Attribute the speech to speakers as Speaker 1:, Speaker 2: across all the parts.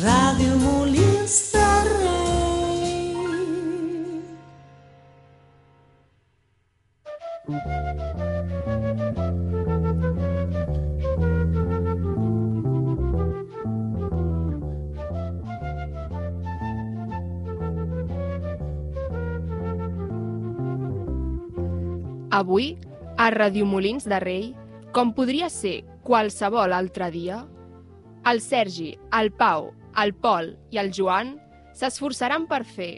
Speaker 1: Radio Molins de Rei.
Speaker 2: Avui, a Radiomolins de Rei, com podria ser qualsevol altre dia, el Sergi, el Pau, el Pol i el Joan s'esforçaran per fer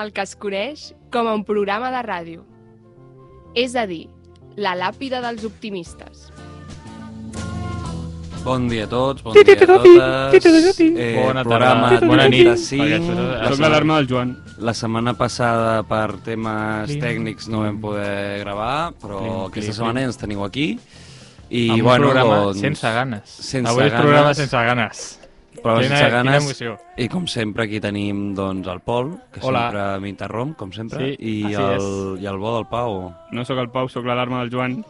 Speaker 2: el que es coneix com a un programa de ràdio. És a dir, la làpida dels optimistes.
Speaker 3: Bon dia a tots, bon dia a totes. Eh,
Speaker 4: Bona
Speaker 3: programa
Speaker 4: tarda, bona nit.
Speaker 3: 35.
Speaker 4: Perquè això és-
Speaker 3: La
Speaker 4: Soc
Speaker 3: setmana-
Speaker 4: l'alarma del Joan.
Speaker 3: La setmana passada, per temes
Speaker 4: Plim,
Speaker 3: tècnics, no vam poder gravar, però
Speaker 4: Plim, plim,
Speaker 3: aquesta
Speaker 4: plim.
Speaker 3: setmana ja ens teniu aquí. I,
Speaker 4: I amb
Speaker 3: bueno,
Speaker 4: un programa
Speaker 3: doncs,
Speaker 4: sense ganes.
Speaker 3: sense
Speaker 4: Avui és
Speaker 3: ganes.
Speaker 4: programa sense ganes.
Speaker 3: Però
Speaker 4: Quina-
Speaker 3: sense
Speaker 4: quina
Speaker 3: ganes.
Speaker 4: emoció.
Speaker 3: I com sempre aquí tenim doncs, el Pol, que
Speaker 4: Hola.
Speaker 3: sempre m'interromp, com sempre,
Speaker 4: Sí,
Speaker 3: i,
Speaker 4: així
Speaker 3: el, i el bo del Pau.
Speaker 4: No sóc el Pau, sóc l'alarma del Joan.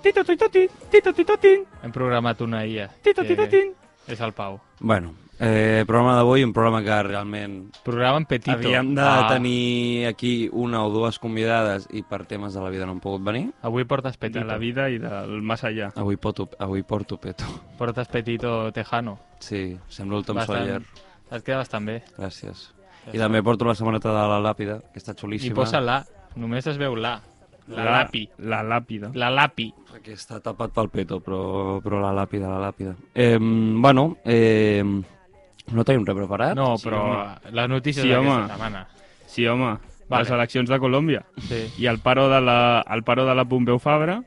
Speaker 5: Hem programat una IA. que És el Pau.
Speaker 3: Bueno, eh, programa d'avui, un programa que realment
Speaker 5: Programa en petito.
Speaker 3: Havíem de
Speaker 5: Ah,
Speaker 3: tenir aquí una o dues convidades i per temes de la vida no han pogut venir.
Speaker 5: Avui portes petito.
Speaker 4: De la vida i del més allà.
Speaker 3: Avui, poto, avui porto peto.
Speaker 5: Portes petito tejano.
Speaker 3: Sí, sembla el Tom Sawyer.
Speaker 5: Et queda bastant bé.
Speaker 3: Gràcies. I també porto la setmaneta de la làpida, que està xulíssima.
Speaker 5: I posa la. Només es veu la. La lapi.
Speaker 4: La làpida.
Speaker 5: La lapi.
Speaker 3: Que està tapat pel peto, però, però la làpida, la làpida. Eh, bueno, eh, no tenim res preparat?
Speaker 5: No,
Speaker 4: Sí,
Speaker 5: però
Speaker 4: home.
Speaker 5: les notícies
Speaker 4: Sí, home.
Speaker 5: d'aquesta setmana.
Speaker 4: Sí, home.
Speaker 5: Vale.
Speaker 4: Les eleccions de Colòmbia.
Speaker 5: Sí.
Speaker 4: I el paro de la, el paro de la Pompeu Fabra.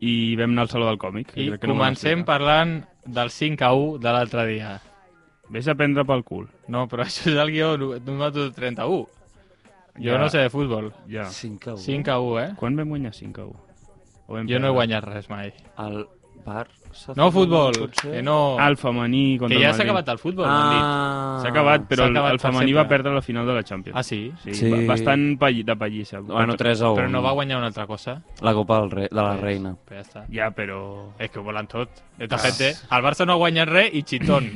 Speaker 4: I vam anar al Saló del Còmic. que
Speaker 5: I
Speaker 4: crec que no ho vam
Speaker 5: comencem
Speaker 4: explicar.
Speaker 5: parlant del 5 a 1 de l'altre dia.
Speaker 4: Vés a prendre pel cul.
Speaker 5: No, però això és el guió nu- número 31. Jo
Speaker 4: Ja.
Speaker 5: no sé de futbol.
Speaker 4: Ja.
Speaker 3: 5 a 1.
Speaker 5: 5 a 1, eh?
Speaker 4: Quan vam guanyar 5 a 1? O vam
Speaker 5: Jo no he
Speaker 4: perdre?
Speaker 5: guanyat res mai.
Speaker 3: El Barça...
Speaker 5: No futbol,
Speaker 3: potser?
Speaker 5: que no...
Speaker 4: El femení contra
Speaker 5: Que ja
Speaker 4: el
Speaker 5: s'ha
Speaker 4: Madrid.
Speaker 5: acabat el futbol, m'han dit.
Speaker 3: Ah,
Speaker 4: S'ha acabat, però
Speaker 5: S'ha
Speaker 4: el,
Speaker 5: acabat
Speaker 4: el
Speaker 5: per
Speaker 4: femení
Speaker 5: sempre.
Speaker 4: va perdre la final de la Champions.
Speaker 5: Ah, sí?
Speaker 4: Sí,
Speaker 3: Sí.
Speaker 4: ba- bastant palli- de pallissa.
Speaker 3: Bueno, 3 a 1.
Speaker 5: Però no va guanyar una altra cosa. Pues
Speaker 3: La Copa del Re... de la Reina.
Speaker 5: Però ja està.
Speaker 4: Ja, però...
Speaker 5: És que ho volen tot. Esta gente... El Barça no ha guanyat res i xitón.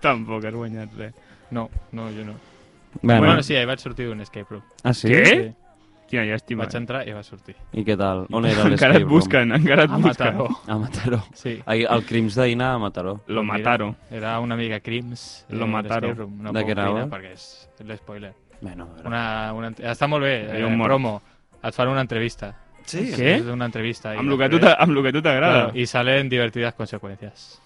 Speaker 4: Tampoc has guanyat res.
Speaker 5: no, no, jo no.
Speaker 3: Bueno,
Speaker 5: Bueno, sí, ahir vaig sortir d'un escape room.
Speaker 3: Ah, sí?
Speaker 4: Què?
Speaker 5: Sí.
Speaker 4: Quina llàstima.
Speaker 5: Vaig entrar i vaig sortir.
Speaker 3: I què tal? On era l'escape
Speaker 4: encara et
Speaker 3: room?
Speaker 4: busquen, encara et
Speaker 5: A
Speaker 4: busquen.
Speaker 5: Mataró.
Speaker 3: A Mataró.
Speaker 5: Sí. Pues
Speaker 3: Ai, el Crims d'ahir a Mataró.
Speaker 4: Lo
Speaker 5: Mira,
Speaker 4: mataron.
Speaker 5: Era una mica crims.
Speaker 4: Lo
Speaker 5: eh,
Speaker 4: mataron.
Speaker 5: l'escape room. No
Speaker 3: De
Speaker 5: puc
Speaker 3: què anava?
Speaker 5: opinar perquè és l'espoiler.
Speaker 3: Bueno, a veure.
Speaker 5: Una, una, està molt bé,
Speaker 4: Hi
Speaker 5: eh,
Speaker 4: ha un mort.
Speaker 5: promo. Et fan una entrevista.
Speaker 3: Sí?
Speaker 4: Què?
Speaker 5: És una entrevista. i
Speaker 4: Amb lo que a tu
Speaker 5: després-
Speaker 4: t'a- amb lo que a tu t'agrada.
Speaker 5: Claro, y salen divertidas consecuencias.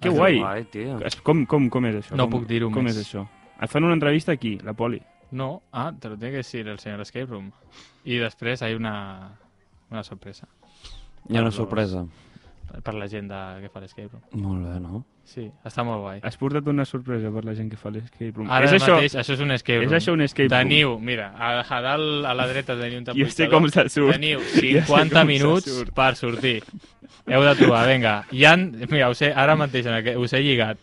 Speaker 4: Que guai.
Speaker 3: Guai, tio.
Speaker 4: Es- Com, com, com és això?
Speaker 5: No
Speaker 4: com,
Speaker 5: puc dir-ho
Speaker 4: Com
Speaker 5: més.
Speaker 4: és això? Et fan una entrevista aquí, la poli.
Speaker 5: No, ah, te lo tiene que decir el señor Escape Room. Y después hay una, una sorpresa
Speaker 3: Hi ha una sorpresa.
Speaker 5: para la leyenda que fa l'Escape Room.
Speaker 3: Molt bé, no?
Speaker 5: Sí, està molt guai.
Speaker 4: Has portat una sorpresa per la gent que fa l'escape room.
Speaker 5: Ara
Speaker 4: és això,
Speaker 5: mateix, això és un escape
Speaker 4: és
Speaker 5: room.
Speaker 4: això un escape room.
Speaker 5: Teniu, mira, a, a dalt, a la dreta teniu un
Speaker 4: Jo
Speaker 5: temporitador.
Speaker 4: sé com se surt.
Speaker 5: Teniu
Speaker 4: Ja sé com
Speaker 5: 50
Speaker 4: se
Speaker 5: minuts
Speaker 4: surt.
Speaker 5: per sortir. Heu de trobar, vinga. Hi han, mira, us he, ara mateix en aquest, us he lligat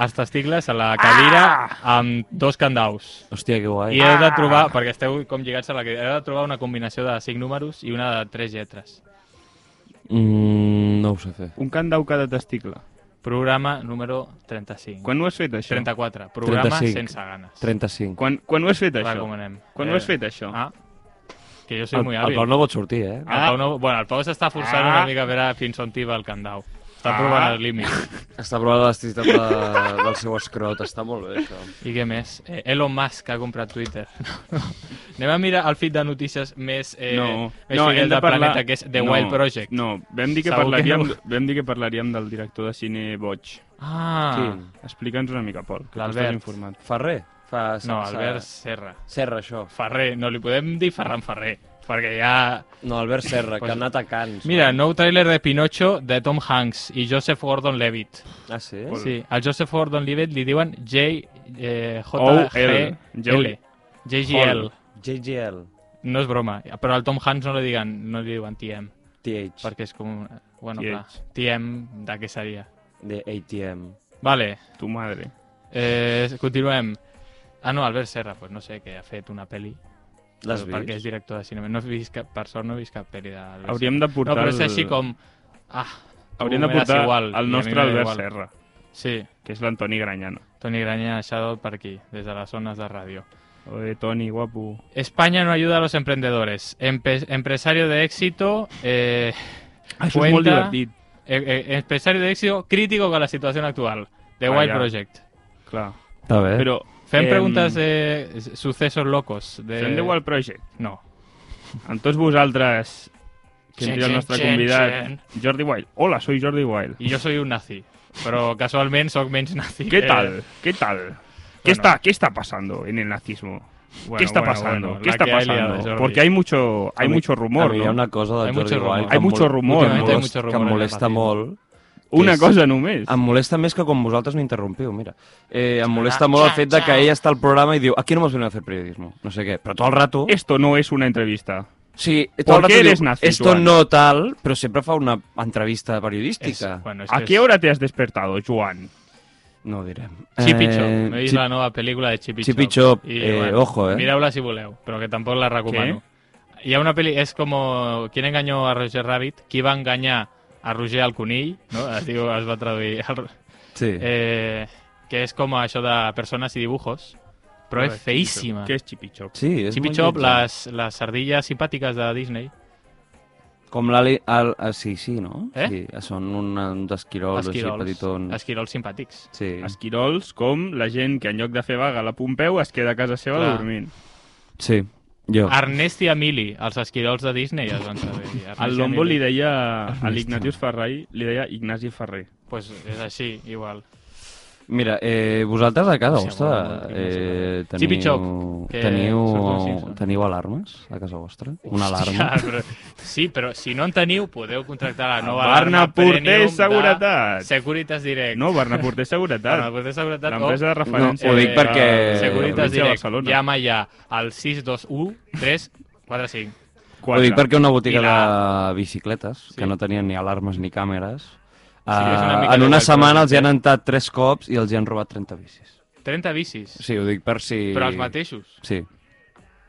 Speaker 5: els testicles a la cadira
Speaker 4: Ah!
Speaker 5: amb dos candaus.
Speaker 3: Hòstia, que guai.
Speaker 5: I heu de trobar, perquè esteu com lligats a la que... Heu de trobar una combinació de cinc números i una de tres lletres.
Speaker 3: Mm, no ho sé fer.
Speaker 4: Un cant d'au cada testicle.
Speaker 5: Programa número 35.
Speaker 4: Quan ho has fet, això?
Speaker 5: 34. Programa
Speaker 3: 35.
Speaker 5: sense ganes.
Speaker 3: 35.
Speaker 4: Quan, quan ho has fet, això?
Speaker 5: Recomanem.
Speaker 4: Quan ho has fet, això?
Speaker 5: Ah, que jo soy
Speaker 3: el,
Speaker 5: muy
Speaker 3: el
Speaker 5: hábil.
Speaker 3: Pau no pot sortir, eh?
Speaker 5: El Pau no... Bueno, el Pau s'està forçant
Speaker 4: Ah.
Speaker 5: una mica a veure fins on tira el candau. Està provant els límits.
Speaker 3: Està provant l'elasticitat de, del seu escrot. Està molt bé, això.
Speaker 5: I què més? Eh, Elon Musk ha comprat Twitter. Anem a mirar el feed de notícies més... Eh,
Speaker 4: no,
Speaker 5: més
Speaker 4: no,
Speaker 5: fidel
Speaker 4: hem de
Speaker 5: del
Speaker 4: parlar...
Speaker 5: planeta, que és The
Speaker 4: no,
Speaker 5: Wild Project.
Speaker 4: No, vam dir,
Speaker 5: Segur
Speaker 4: que
Speaker 5: que
Speaker 4: parlaríem,
Speaker 5: no.
Speaker 4: vam dir que parlaríem del director de cine Boig.
Speaker 5: Ah,
Speaker 3: Quin?
Speaker 4: Explica'ns una mica, Pol, que tu
Speaker 5: L'Albert.
Speaker 4: estàs informat.
Speaker 3: Ferrer? Fa,
Speaker 5: no,
Speaker 3: sa-
Speaker 5: Albert Serra.
Speaker 3: Serra, això.
Speaker 5: Ferrer, no li podem dir Ferran Ferrer, perquè ja...
Speaker 3: No, Albert Serra, que
Speaker 5: Pues-
Speaker 3: ha anat a eh? Cans.
Speaker 5: Mira, nou tràiler de Pinocho de Tom Hanks i Joseph Gordon-Levitt.
Speaker 3: Ah, sí?
Speaker 5: Sí, al Joseph Gordon-Levitt li diuen J... Eh,
Speaker 4: O-L.
Speaker 5: J-G-L. JGL.
Speaker 3: JGL.
Speaker 5: No és broma, però al Tom Hanks no li, diguen, no li diuen TM,
Speaker 3: TH.
Speaker 5: perquè és com... un- Bueno,
Speaker 4: TH.
Speaker 5: clar, TM de què seria?
Speaker 3: De ATM.
Speaker 5: Vale,
Speaker 4: Tu madre.
Speaker 5: eh, continuem. Ah, no, Albert Serra, pues no sé, que ha fet una pel·li,
Speaker 3: L'has
Speaker 5: però perquè és
Speaker 3: vist?
Speaker 5: director de cinema. No he vist cap, per sort no he vist cap pel·li d'Albert
Speaker 4: Hauríem de portar...
Speaker 5: No, però és
Speaker 4: el-
Speaker 5: així com... Ah,
Speaker 4: Hauríem de
Speaker 5: m'eres
Speaker 4: portar
Speaker 5: igual, i a
Speaker 4: el
Speaker 5: mi
Speaker 4: nostre
Speaker 5: m'era
Speaker 4: Albert
Speaker 5: igual.
Speaker 4: Serra.
Speaker 5: Sí,
Speaker 4: que és l'Antoni Granyano.
Speaker 5: Toni Graña, Shadow per aquí, des de les zones de ràdio.
Speaker 4: Oye, Toni, guapo.
Speaker 5: España no ayuda a los emprendedores. Empe- empresario de éxito. eh,
Speaker 4: Això és
Speaker 5: Cuenta.
Speaker 4: molt divertit,
Speaker 5: eh, eh, empresario de éxito crítico con la situación actual. The Wild
Speaker 4: Vaya.
Speaker 5: Project.
Speaker 4: clar.
Speaker 3: Està bé.
Speaker 4: Però...
Speaker 5: Eh? Fem
Speaker 4: em,
Speaker 5: preguntas de s- sucesos locos. De...
Speaker 4: Fem The Wild Project.
Speaker 5: No.
Speaker 4: Amb tots vosaltres, que
Speaker 5: Chen,
Speaker 4: seria el
Speaker 5: chen,
Speaker 4: nostre
Speaker 5: chen,
Speaker 4: convidat,
Speaker 5: chen.
Speaker 4: Jordi Wild. Hola, soy Jordi Wild.
Speaker 5: Y yo soy un nazi. Pero casualmente soy menos nazi.
Speaker 4: ¿Qué
Speaker 5: que-
Speaker 4: tal? ¿Qué tal? ¿Qué,
Speaker 5: Eh. bueno.
Speaker 4: está, ¿Qué está pasando en el nazismo?
Speaker 5: Bueno,
Speaker 4: ¿Qué está
Speaker 5: bueno,
Speaker 4: pasando?
Speaker 5: bueno,
Speaker 4: ¿Qué
Speaker 5: la
Speaker 4: está
Speaker 5: que ha liado,
Speaker 4: pasando?
Speaker 5: Jordi.
Speaker 4: Porque hay mucho, hay
Speaker 3: A mi-
Speaker 4: mucho rumor,
Speaker 3: a mi
Speaker 4: ¿no?
Speaker 3: hi ha una cosa
Speaker 5: Hay
Speaker 3: del Jordi
Speaker 5: mucho rumor.
Speaker 3: Wild
Speaker 4: Hay mucho rumor,
Speaker 3: que, em
Speaker 5: Últimamente hay
Speaker 3: molest-
Speaker 5: mucho rumor
Speaker 3: que em
Speaker 5: en el
Speaker 3: molesta
Speaker 5: racisme.
Speaker 3: molt.
Speaker 4: Una
Speaker 3: és-
Speaker 4: cosa només.
Speaker 3: Em molesta més que quan vosaltres no interrompiu, mira. Eh, em molesta molt el fet de que ella està al programa i diu aquí no m'has venido a fer periodismo, no sé què. Però tu al rato...
Speaker 4: Esto no es una entrevista.
Speaker 3: Sí, tu
Speaker 4: ¿Por
Speaker 3: al rato
Speaker 4: qué
Speaker 3: diu,
Speaker 4: eres nazi,
Speaker 3: esto
Speaker 4: Joan?"
Speaker 3: no tal, però sempre fa una entrevista
Speaker 5: Es-
Speaker 3: periodística.
Speaker 5: bueno, es
Speaker 4: ¿A
Speaker 5: que
Speaker 4: qué
Speaker 5: es-
Speaker 4: hora te has despertado, Joan?
Speaker 3: No ho direm.
Speaker 5: Eh,
Speaker 3: Eh,
Speaker 5: Chipicho. Me dice
Speaker 3: Chip-
Speaker 5: la nueva película de Chipicho.
Speaker 3: Chipicho, eh, ojo, eh.
Speaker 5: Miraula si voleu, pero que tampoco la recomano. Y a una peli es como ¿Quién engañó a Roger Rabbit? ¿Quién va a engañar a Roger al conill? No? Es, diu, es va traduir. al-
Speaker 3: Sí.
Speaker 5: Eh, que es como això de personas y dibujos. Pero es feísima.
Speaker 4: ¿Qué es Chipichop?
Speaker 3: sí, és
Speaker 5: Chipicho,
Speaker 3: molt lletja.
Speaker 5: las, las sardillas simpáticas de Disney.
Speaker 3: Com l'Ali... El... Ah, sí, sí, no?
Speaker 5: Eh?
Speaker 3: Sí, són un, uns
Speaker 4: Oh,
Speaker 3: esquirols,
Speaker 5: Esquirols.
Speaker 3: així, petitons.
Speaker 5: Esquirols simpàtics.
Speaker 3: Sí.
Speaker 4: Esquirols com la gent que en lloc de fer vaga a la Pompeu es queda a casa seva
Speaker 5: Clar.
Speaker 4: dormint.
Speaker 3: Sí, jo.
Speaker 5: Ernest i Emili, els esquirols de Disney es van traduir. Ernest
Speaker 4: Al
Speaker 5: i
Speaker 4: Lombo
Speaker 5: Emili.
Speaker 4: li deia a
Speaker 3: Ernesto.
Speaker 4: l'Ignatius Ferrer, li deia Ignasi Ferrer.
Speaker 5: Pues és així, igual.
Speaker 3: Mira, eh, vosaltres a casa
Speaker 5: Sí, molt,
Speaker 3: vostra
Speaker 5: molt
Speaker 3: eh,
Speaker 5: difícil. Sí, pitjor,
Speaker 3: teniu,
Speaker 5: que surt un
Speaker 3: teniu,
Speaker 5: Simpson.
Speaker 3: teniu alarmes a casa vostra? Una
Speaker 5: Hòstia,
Speaker 3: alarma?
Speaker 5: però, sí, però si no en teniu, podeu contractar la nova
Speaker 4: Ah, Barna
Speaker 5: alarma
Speaker 4: Porter
Speaker 5: Premium
Speaker 4: Seguretat.
Speaker 5: De Securitas Direct.
Speaker 4: No, Barna Porter Seguretat.
Speaker 5: Barna Porter Seguretat. oh. Eh,
Speaker 4: L'empresa de referència.
Speaker 3: No, ho dic
Speaker 4: de-
Speaker 3: perquè-
Speaker 5: Securitas
Speaker 4: Securitas de
Speaker 5: Direct.
Speaker 4: Barcelona.
Speaker 5: Llama ja al 621 345.
Speaker 3: Ho dic perquè una botiga
Speaker 5: I
Speaker 3: de
Speaker 5: la-
Speaker 3: bicicletes, que
Speaker 5: Sí.
Speaker 3: no tenien ni alarmes ni càmeres,
Speaker 5: és una mica
Speaker 3: eh, en
Speaker 5: de
Speaker 3: una
Speaker 5: Wild
Speaker 3: setmana els hi
Speaker 5: Project,
Speaker 3: han entrat tres cops i els hi han robat 30 bicis.
Speaker 5: 30 bicis.
Speaker 3: Sí, ho dic per si...
Speaker 5: Però els mateixos.
Speaker 3: Sí,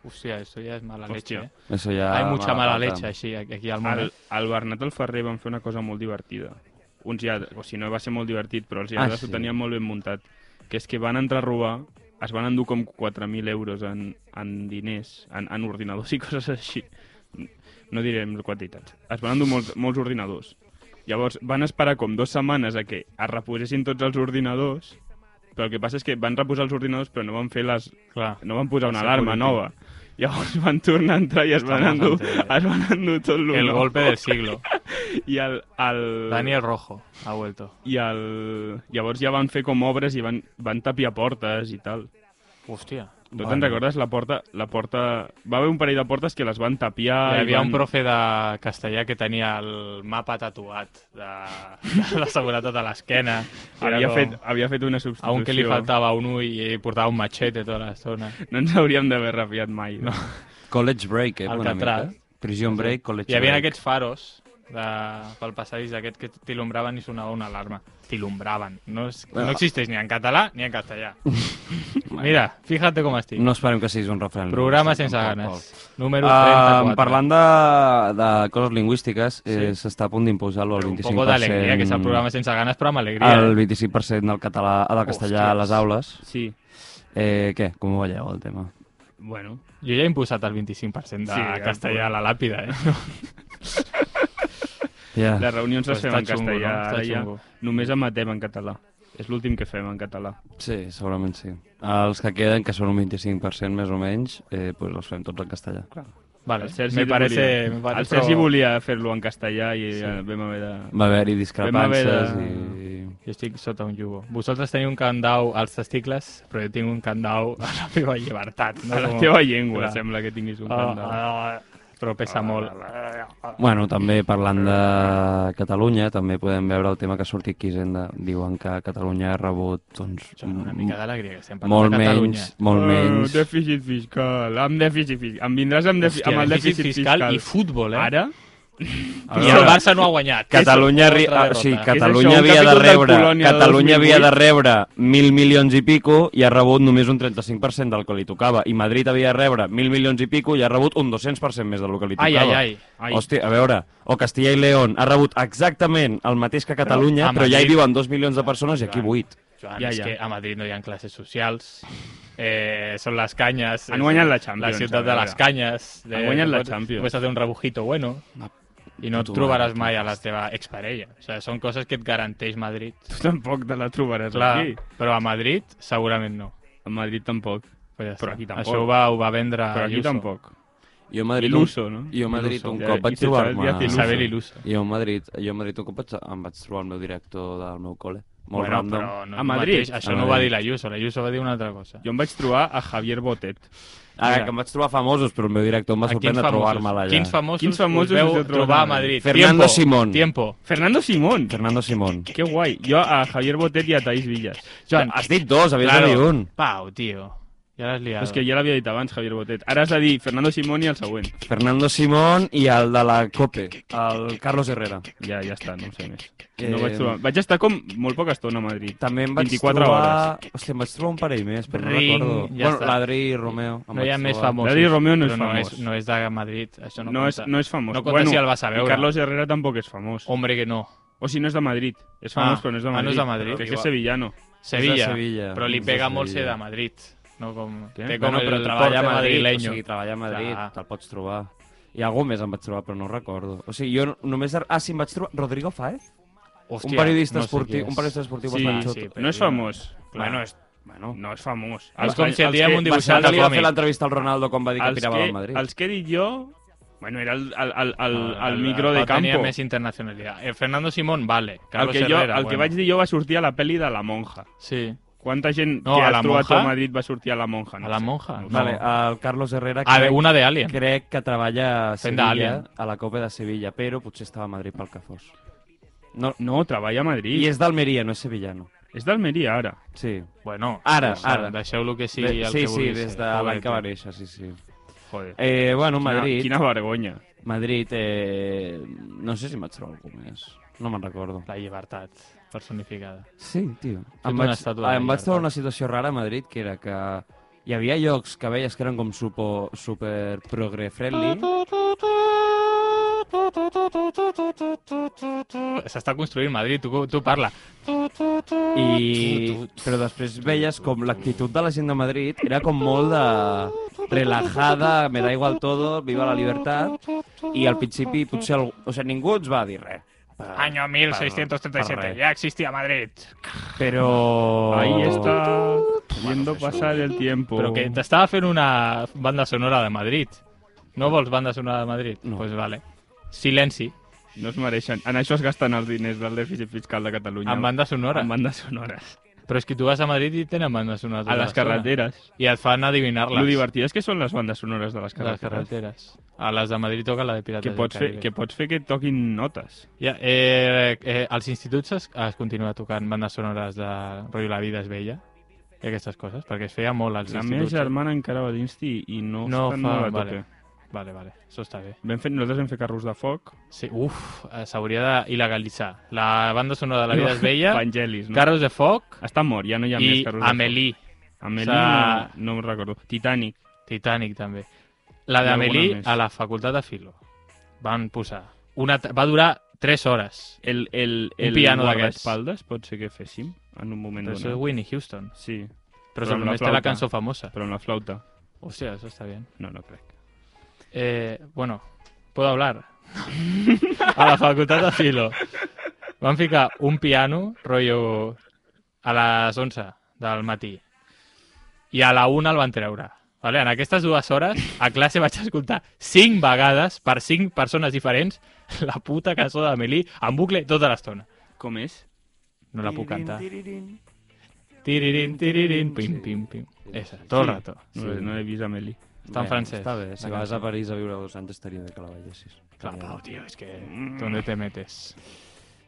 Speaker 5: Hòstia, això ja és mala leche,
Speaker 4: Hòstia.
Speaker 5: eh?
Speaker 3: això ja...
Speaker 5: Hay mucha mala
Speaker 3: Ah, pata.
Speaker 5: leche així, aquí al món.
Speaker 4: Al, al Bernat el Ferrer van fer una cosa molt divertida. Uns ja, o sigui, no va ser molt divertit, però els lladres ah,
Speaker 3: Ah,
Speaker 4: sí. ho
Speaker 3: sí.
Speaker 4: tenien molt ben muntat. Que és que van entrar a robar, es van endur com 4.000 euros en, en diners, en, en ordinadors i coses així. No direm quantitats. Es van endur molts, molts ordinadors. Llavors van esperar com dues setmanes a que es reposessin tots els ordinadors, però el que passa és que van reposar els ordinadors però no van fer les,
Speaker 5: Clar.
Speaker 4: no van posar una
Speaker 5: El
Speaker 4: alarma
Speaker 5: security.
Speaker 4: nova. Llavors van tornar a entrar i es van
Speaker 5: Estamos
Speaker 4: endur,
Speaker 5: ante
Speaker 4: es van endur tot l'uno.
Speaker 5: eh? El golpe del siglo.
Speaker 4: I el, el...
Speaker 5: Daniel Rojo ha vuelto.
Speaker 4: I el... Llavors ja van fer com obres i van, van tapiar portes i tal.
Speaker 5: Hòstia.
Speaker 4: Tu te'n recordes la porta, la porta... Va haver un parell de portes que les van tapiar...
Speaker 5: Hi
Speaker 4: i
Speaker 5: havia
Speaker 4: van...
Speaker 5: un profe de castellà que tenia el mapa tatuat de, de la seguretat a l'esquena. Era
Speaker 4: Havia
Speaker 5: com
Speaker 4: fet, havia fet una substitució.
Speaker 5: A un que li faltava un ull i portava un machete tota l'estona.
Speaker 4: No ens hauríem d'haver rapiat mai. No.
Speaker 3: College Break, eh? Una
Speaker 5: Alcatraz.
Speaker 3: mica. Prison Break, College
Speaker 5: Hi havia
Speaker 3: Break.
Speaker 5: aquests faros de, pel passadís aquest que t'il·lumbraven i sonava una alarma. T'il·lumbraven. No, és, no existeix ni en català ni en castellà. Mira, fíjate com estic.
Speaker 3: No esperem que siguis un referent.
Speaker 5: Programa
Speaker 3: Mm, Sí,
Speaker 5: sense
Speaker 3: tampoc,
Speaker 5: ganes.
Speaker 3: Pol.
Speaker 5: Número
Speaker 3: Uh,
Speaker 5: 34.
Speaker 3: parlant de, de coses lingüístiques, eh,
Speaker 5: Sí.
Speaker 3: s'està a punt d'imposar-lo al
Speaker 5: Un
Speaker 3: 25%.
Speaker 5: poco d'alegria, que és el programa sense ganes, però amb alegria.
Speaker 3: El
Speaker 5: eh?
Speaker 3: 25% del català, del castellà a les aules.
Speaker 4: Sí.
Speaker 3: Eh, què? Com ho veieu, el tema?
Speaker 4: Bueno.
Speaker 5: Jo ja he imposat el 25% de
Speaker 4: Sí,
Speaker 5: sí,
Speaker 4: ja,
Speaker 5: castellà a la làpida, eh?
Speaker 3: Ja.
Speaker 4: Les reunions les
Speaker 5: Però
Speaker 4: fem
Speaker 5: està
Speaker 4: en
Speaker 5: xungo,
Speaker 4: castellà.
Speaker 5: no? Està
Speaker 4: Ara ja
Speaker 5: xungo.
Speaker 4: només emetem en català. És l'últim que fem en català.
Speaker 3: Sí, segurament sí. Els que queden, que són un 25% més o menys, eh, pues els fem tots en castellà.
Speaker 5: Vale,
Speaker 4: El Sergi,
Speaker 5: me parece...
Speaker 4: volia,
Speaker 5: Me parece
Speaker 4: el Sergi
Speaker 5: però
Speaker 4: volia fer-lo en castellà i sí. vam haver de...
Speaker 3: Va haver-hi
Speaker 4: Vam
Speaker 3: discrepàncies
Speaker 4: haver
Speaker 3: i...
Speaker 5: Jo estic sota un yugo. Vosaltres teniu un candau als testicles, però jo tinc un candau a la meva llibertat. No?
Speaker 4: A la
Speaker 5: Com-
Speaker 4: teva llengua,
Speaker 5: Clar.
Speaker 4: sembla que tinguis un
Speaker 5: Ah,
Speaker 4: candau.
Speaker 5: ah, ah, però pesa molt.
Speaker 3: Bueno, també parlant de Catalunya, també podem veure el tema que ha sortit aquí, Hisenda. Diuen que Catalunya ha rebut, doncs,
Speaker 5: Una mica d'alegria que estem parlant
Speaker 3: molt
Speaker 5: de Catalunya.
Speaker 3: menys, molt menys...
Speaker 4: Uh, dèficit fiscal, amb dèficit fiscal. Em vindràs amb, defi
Speaker 5: Hòstia,
Speaker 4: amb el dèficit,
Speaker 5: fiscal, i futbol, eh?
Speaker 4: Ara,
Speaker 3: A
Speaker 5: I el
Speaker 3: veure,
Speaker 5: Barça no ha guanyat.
Speaker 3: Catalunya, ri...
Speaker 5: Altra
Speaker 3: ah, sí,
Speaker 5: derrota.
Speaker 4: és
Speaker 3: Catalunya
Speaker 4: això, un
Speaker 3: havia de
Speaker 4: capítol del
Speaker 3: rebre
Speaker 4: Polònia del
Speaker 3: Catalunya havia de
Speaker 4: 2008.
Speaker 3: rebre mil milions i pico i ha rebut només un 35% del que li tocava. I Madrid havia de rebre mil milions i pico i ha rebut un 200% més del que li
Speaker 5: Ai,
Speaker 3: tocava.
Speaker 5: ai, ai.
Speaker 4: Ai.
Speaker 3: Hòstia, a veure, o Castilla i León ha rebut exactament el mateix que Catalunya,
Speaker 5: a
Speaker 3: però, ja hi
Speaker 5: Madrid-
Speaker 3: viuen dos milions de persones i aquí
Speaker 5: Joan.
Speaker 3: vuit.
Speaker 5: Joan, ja, ja.
Speaker 4: Ja,
Speaker 5: és
Speaker 4: ja.
Speaker 5: que a Madrid no hi ha classes socials, eh, són les canyes...
Speaker 4: Han
Speaker 5: és
Speaker 4: guanyat la Champions,
Speaker 5: La ciutat
Speaker 4: a
Speaker 5: de
Speaker 4: veure.
Speaker 5: les canyes. Eh,
Speaker 4: Han guanyat la
Speaker 5: pots-
Speaker 4: Champions.
Speaker 5: Pots fer un rebujito bueno i no et
Speaker 3: puta
Speaker 5: trobaràs
Speaker 3: mare,
Speaker 5: mai a la teva exparella. O sigui, són coses que et garanteix Madrid.
Speaker 4: Tu tampoc te la trobaràs
Speaker 5: Clar,
Speaker 4: aquí.
Speaker 5: però a Madrid segurament no.
Speaker 4: A Madrid tampoc.
Speaker 5: Pues ja
Speaker 4: Però
Speaker 5: està.
Speaker 4: aquí tampoc.
Speaker 5: Això ho va, ho va vendre
Speaker 4: Però aquí
Speaker 5: Ayuso.
Speaker 4: tampoc.
Speaker 3: Jo a
Speaker 4: Madrid- Iluso, no?
Speaker 3: Jo a Madrid
Speaker 5: Iluso.
Speaker 3: un
Speaker 4: Ja,
Speaker 3: cop vaig
Speaker 4: i sense el
Speaker 3: trobar-me...
Speaker 4: dia Iluso.
Speaker 5: Isabel Iluso.
Speaker 3: Jo a Madrid, jo a Madrid un cop vaig, em vaig trobar el meu director del meu col·le. Molt
Speaker 5: Bueno,
Speaker 3: random.
Speaker 5: però no,
Speaker 4: A
Speaker 5: no
Speaker 4: Madrid.
Speaker 5: Mateix, això
Speaker 3: A
Speaker 5: no ho va
Speaker 3: Madrid.
Speaker 5: dir la Ayuso, la Ayuso va dir una altra cosa.
Speaker 4: Jo em vaig trobar a Javier Botet.
Speaker 3: Ah,
Speaker 4: Mira.
Speaker 3: que em vaig trobar famosos, però el meu director em va
Speaker 5: A
Speaker 3: sorprendre trobar-me-la allà.
Speaker 5: quins famosos,
Speaker 4: Quins famosos
Speaker 5: us veu
Speaker 4: us heu trobat
Speaker 5: trobar a
Speaker 4: a
Speaker 5: Madrid?
Speaker 4: Madrid?
Speaker 3: Fernando
Speaker 5: Tiempo,
Speaker 3: Simón.
Speaker 5: Tiempo.
Speaker 4: Fernando Simón.
Speaker 3: Fernando Simón.
Speaker 4: Que guai. Jo a Javier Botet i a Taís Villas.
Speaker 5: Joan,
Speaker 3: Has dit dos, havies de dir un.
Speaker 5: Pau, tio. Ja l'has liat.
Speaker 4: És que ja l'havia dit abans, Javier Botet. Ara has de dir Fernando Simón i el següent.
Speaker 3: Fernando Simón i el de la COPE, el Carlos Herrera.
Speaker 4: Ja, ja està, no sé més.
Speaker 3: Eh,
Speaker 4: No vaig trobar. Vaig estar com molt poca estona a Madrid.
Speaker 3: També em vaig
Speaker 4: 24
Speaker 3: trobar...
Speaker 4: hores.
Speaker 3: Hòstia, em vaig trobar un parell més, però
Speaker 5: Ring,
Speaker 3: no recordo.
Speaker 5: ja
Speaker 3: bueno,
Speaker 5: està.
Speaker 3: l'Adri i Romeo. em
Speaker 5: No hi ha
Speaker 3: vaig
Speaker 5: més
Speaker 3: trobar.
Speaker 5: famosos.
Speaker 4: Daddy Romeo no és
Speaker 5: però
Speaker 4: famós.
Speaker 5: No és, no és de Madrid, això no,
Speaker 4: No, és,
Speaker 5: compta.
Speaker 4: no és famós.
Speaker 5: No compta si el vas a
Speaker 4: i
Speaker 5: veure.
Speaker 4: Carlos Herrera tampoc és famós.
Speaker 5: Hombre que no.
Speaker 4: O si no és de Madrid. És famós,
Speaker 5: Ah,
Speaker 4: però no és de
Speaker 5: ah,
Speaker 4: Madrid.
Speaker 5: no és de Madrid.
Speaker 4: Crec que és sevillano.
Speaker 5: Sevilla.
Speaker 3: Sevilla,
Speaker 5: Però li
Speaker 3: és de
Speaker 5: pega molt ser
Speaker 3: Sevilla.
Speaker 5: de Madrid. No com...
Speaker 4: Què?
Speaker 5: Té com
Speaker 3: Bueno, però
Speaker 5: el
Speaker 3: treballar
Speaker 5: porte
Speaker 3: a
Speaker 4: pues
Speaker 3: Madrid, o
Speaker 5: madrileño.
Speaker 3: sigui, treballar a Madrid,
Speaker 5: Clar.
Speaker 3: te'l pots trobar. I algú més em vaig trobar, però no recordo. O sigui, jo només... Ah, sí, em vaig trobar... Rodrigo Faez?
Speaker 5: Hòstia,
Speaker 3: un periodista
Speaker 5: no sé qui
Speaker 3: esportiu,
Speaker 5: és.
Speaker 3: un periodista esportiu
Speaker 4: Sí,
Speaker 3: bastant
Speaker 5: sí,
Speaker 3: xut.
Speaker 5: però
Speaker 4: No és
Speaker 5: clar.
Speaker 4: famós. Bueno, és,
Speaker 3: Bueno,
Speaker 4: no és famós.
Speaker 5: És com si el
Speaker 4: els
Speaker 5: diem
Speaker 4: que-
Speaker 5: un
Speaker 4: els
Speaker 5: dibuixant
Speaker 3: Bastant li
Speaker 5: de
Speaker 3: va fer
Speaker 5: còmic.
Speaker 3: l'entrevista al Ronaldo quan va dir que pirava del Madrid.
Speaker 4: els que he dit jo... Bueno, era el, el, el, el, el,
Speaker 5: Ah,
Speaker 4: micro de
Speaker 5: Pau Tenia
Speaker 4: campo.
Speaker 5: més internacionalitat. El Eh, Fernando Simón, vale.
Speaker 4: El
Speaker 5: Carlos
Speaker 4: que, jo,
Speaker 5: Herrera,
Speaker 4: el que
Speaker 5: bueno.
Speaker 4: vaig dir jo va sortir a la pel·li de La Monja.
Speaker 5: Sí.
Speaker 4: Quanta gent
Speaker 5: No,
Speaker 4: que
Speaker 5: a
Speaker 4: has
Speaker 5: La
Speaker 4: trobat tu a
Speaker 5: Monja?
Speaker 4: Madrid va sortir a La Monja?
Speaker 5: A La Monja? No.
Speaker 4: No, sé.
Speaker 3: Vale, el Carlos Herrera
Speaker 5: Ah, de,
Speaker 3: crec,
Speaker 5: una de Alien.
Speaker 3: crec que treballa a
Speaker 5: Fent
Speaker 3: Sevilla,
Speaker 5: d'Alien.
Speaker 3: a la Copa de Sevilla, però potser estava a Madrid pel que fos. No,
Speaker 4: no, treballa a Madrid.
Speaker 3: I és d'Almeria, no és sevillano.
Speaker 4: És d'Almeria, ara.
Speaker 3: Sí.
Speaker 5: Bueno,
Speaker 3: Ara,
Speaker 5: doncs,
Speaker 3: ara.
Speaker 5: Deixeu-lo que
Speaker 3: Sí,
Speaker 5: sigui el
Speaker 3: sí,
Speaker 5: que
Speaker 3: sí
Speaker 5: vulgui
Speaker 3: des
Speaker 5: ser.
Speaker 3: de
Speaker 5: Pobre
Speaker 3: l'any que
Speaker 5: tio.
Speaker 3: va néixer, sí, sí.
Speaker 4: Joder.
Speaker 3: Eh, bueno,
Speaker 4: Quina-
Speaker 3: Madrid,
Speaker 4: Quina vergonya.
Speaker 3: Madrid eh, no sé si em vaig trobar algú més. No me'n recordo.
Speaker 5: La llibertat personificada.
Speaker 3: Sí, tio.
Speaker 5: Fet
Speaker 3: Em
Speaker 5: una
Speaker 3: vaig,
Speaker 5: estàtua de la
Speaker 3: em vaig trobar
Speaker 5: llibertat.
Speaker 3: una situació rara a Madrid, que era que hi havia llocs que veies que eren com super, super progre-friendly.
Speaker 5: S'està construint Madrid, tu, tu parla.
Speaker 3: I... Però després veies com l'actitud de la gent de Madrid era com molt de relajada, me da igual todo, viva la libertat. I al principi potser algú... O sigui, ningú ens va dir res.
Speaker 5: Año 1637,
Speaker 3: Parla.
Speaker 5: ya existía Madrid.
Speaker 3: Però...
Speaker 4: Ahí está, viendo pasar el tiempo.
Speaker 5: Però que t'estava fent una banda sonora de Madrid. No vols banda sonora de Madrid?
Speaker 3: No.
Speaker 5: Pues vale. Silenci,
Speaker 4: No es mereixen. En això es gasten els diners del dèficit fiscal de Catalunya.
Speaker 5: amb banda sonora.
Speaker 4: Amb bandes sonores.
Speaker 5: Però és que tu vas a Madrid i tenen banda sonora tota
Speaker 4: A les
Speaker 5: l'estona.
Speaker 4: carreteres.
Speaker 5: I et fan
Speaker 4: Lo
Speaker 5: adivinar-les.
Speaker 4: divertides que són les bandes sonores de les
Speaker 5: De les
Speaker 4: carreteres.
Speaker 5: carreteres. A les de Madrid toca la de Pirates
Speaker 4: Que pots, fer,
Speaker 5: Caribe.
Speaker 4: que pots fer que toquin notes.
Speaker 5: Ja, eh, eh, als instituts es, es continua tocant bandes sonores de rotllo La vida és vella i aquestes coses, perquè es feia molt als
Speaker 4: La meva
Speaker 5: instituts.
Speaker 4: germana encara va dins i no,
Speaker 5: No
Speaker 4: estan
Speaker 5: fa-
Speaker 4: molt a
Speaker 5: vale.
Speaker 4: tope.
Speaker 5: Vale, vale, això està bé.
Speaker 4: Vam fer, nosaltres vam fer carros de foc.
Speaker 5: Sí, uf, eh, s'hauria d'il·legalitzar. La banda sonora de La vida és vella,
Speaker 4: Vangelis, no?
Speaker 5: Carros de foc
Speaker 4: Està mort, ja no hi ha
Speaker 5: i
Speaker 4: més carros de foc.
Speaker 5: Amélie,
Speaker 4: Amélie,
Speaker 5: S'ha-
Speaker 4: no, no me'n recordo. Titanic.
Speaker 5: Titanic també. La
Speaker 4: I alguna
Speaker 5: d'Amélie
Speaker 4: més.
Speaker 5: a la facultat de Filo. Van posar... Una, ta- va durar 3 hores.
Speaker 4: El, el,
Speaker 5: Un
Speaker 4: el
Speaker 5: piano d'aquests.
Speaker 4: guardaespaldes pot ser que féssim en un moment
Speaker 5: Però això és
Speaker 4: donat.
Speaker 5: Winnie Houston.
Speaker 4: Sí,
Speaker 5: Però,
Speaker 4: Però
Speaker 5: però
Speaker 4: amb la
Speaker 5: només té la
Speaker 4: flauta.
Speaker 5: cançó famosa.
Speaker 4: però amb la flauta.
Speaker 5: Hòstia, això està bé.
Speaker 4: No, no crec.
Speaker 5: Eh, bueno, puedo hablar. a la facultat de Filo. Van ficar un piano, rotllo, a les 11 del matí. I a la 1 el van treure. Vale? En aquestes dues hores, a classe vaig escoltar cinc vegades, per cinc persones diferents, la puta cançó de Melí en bucle tota l'estona.
Speaker 4: Com és?
Speaker 5: No la puc cantar. Tiririn, tiririn, pim, pim, pim. Esa, tot el rato.
Speaker 4: No, sí. no l'he vist Amélie.
Speaker 5: Està en francès.
Speaker 3: Està bé, si
Speaker 5: La
Speaker 3: vas
Speaker 5: cançó.
Speaker 3: a París a viure dos anys estaria bé que la veiessis.
Speaker 4: Mm.
Speaker 5: Clar, Pau, tio, és que... ¿Dónde te metes?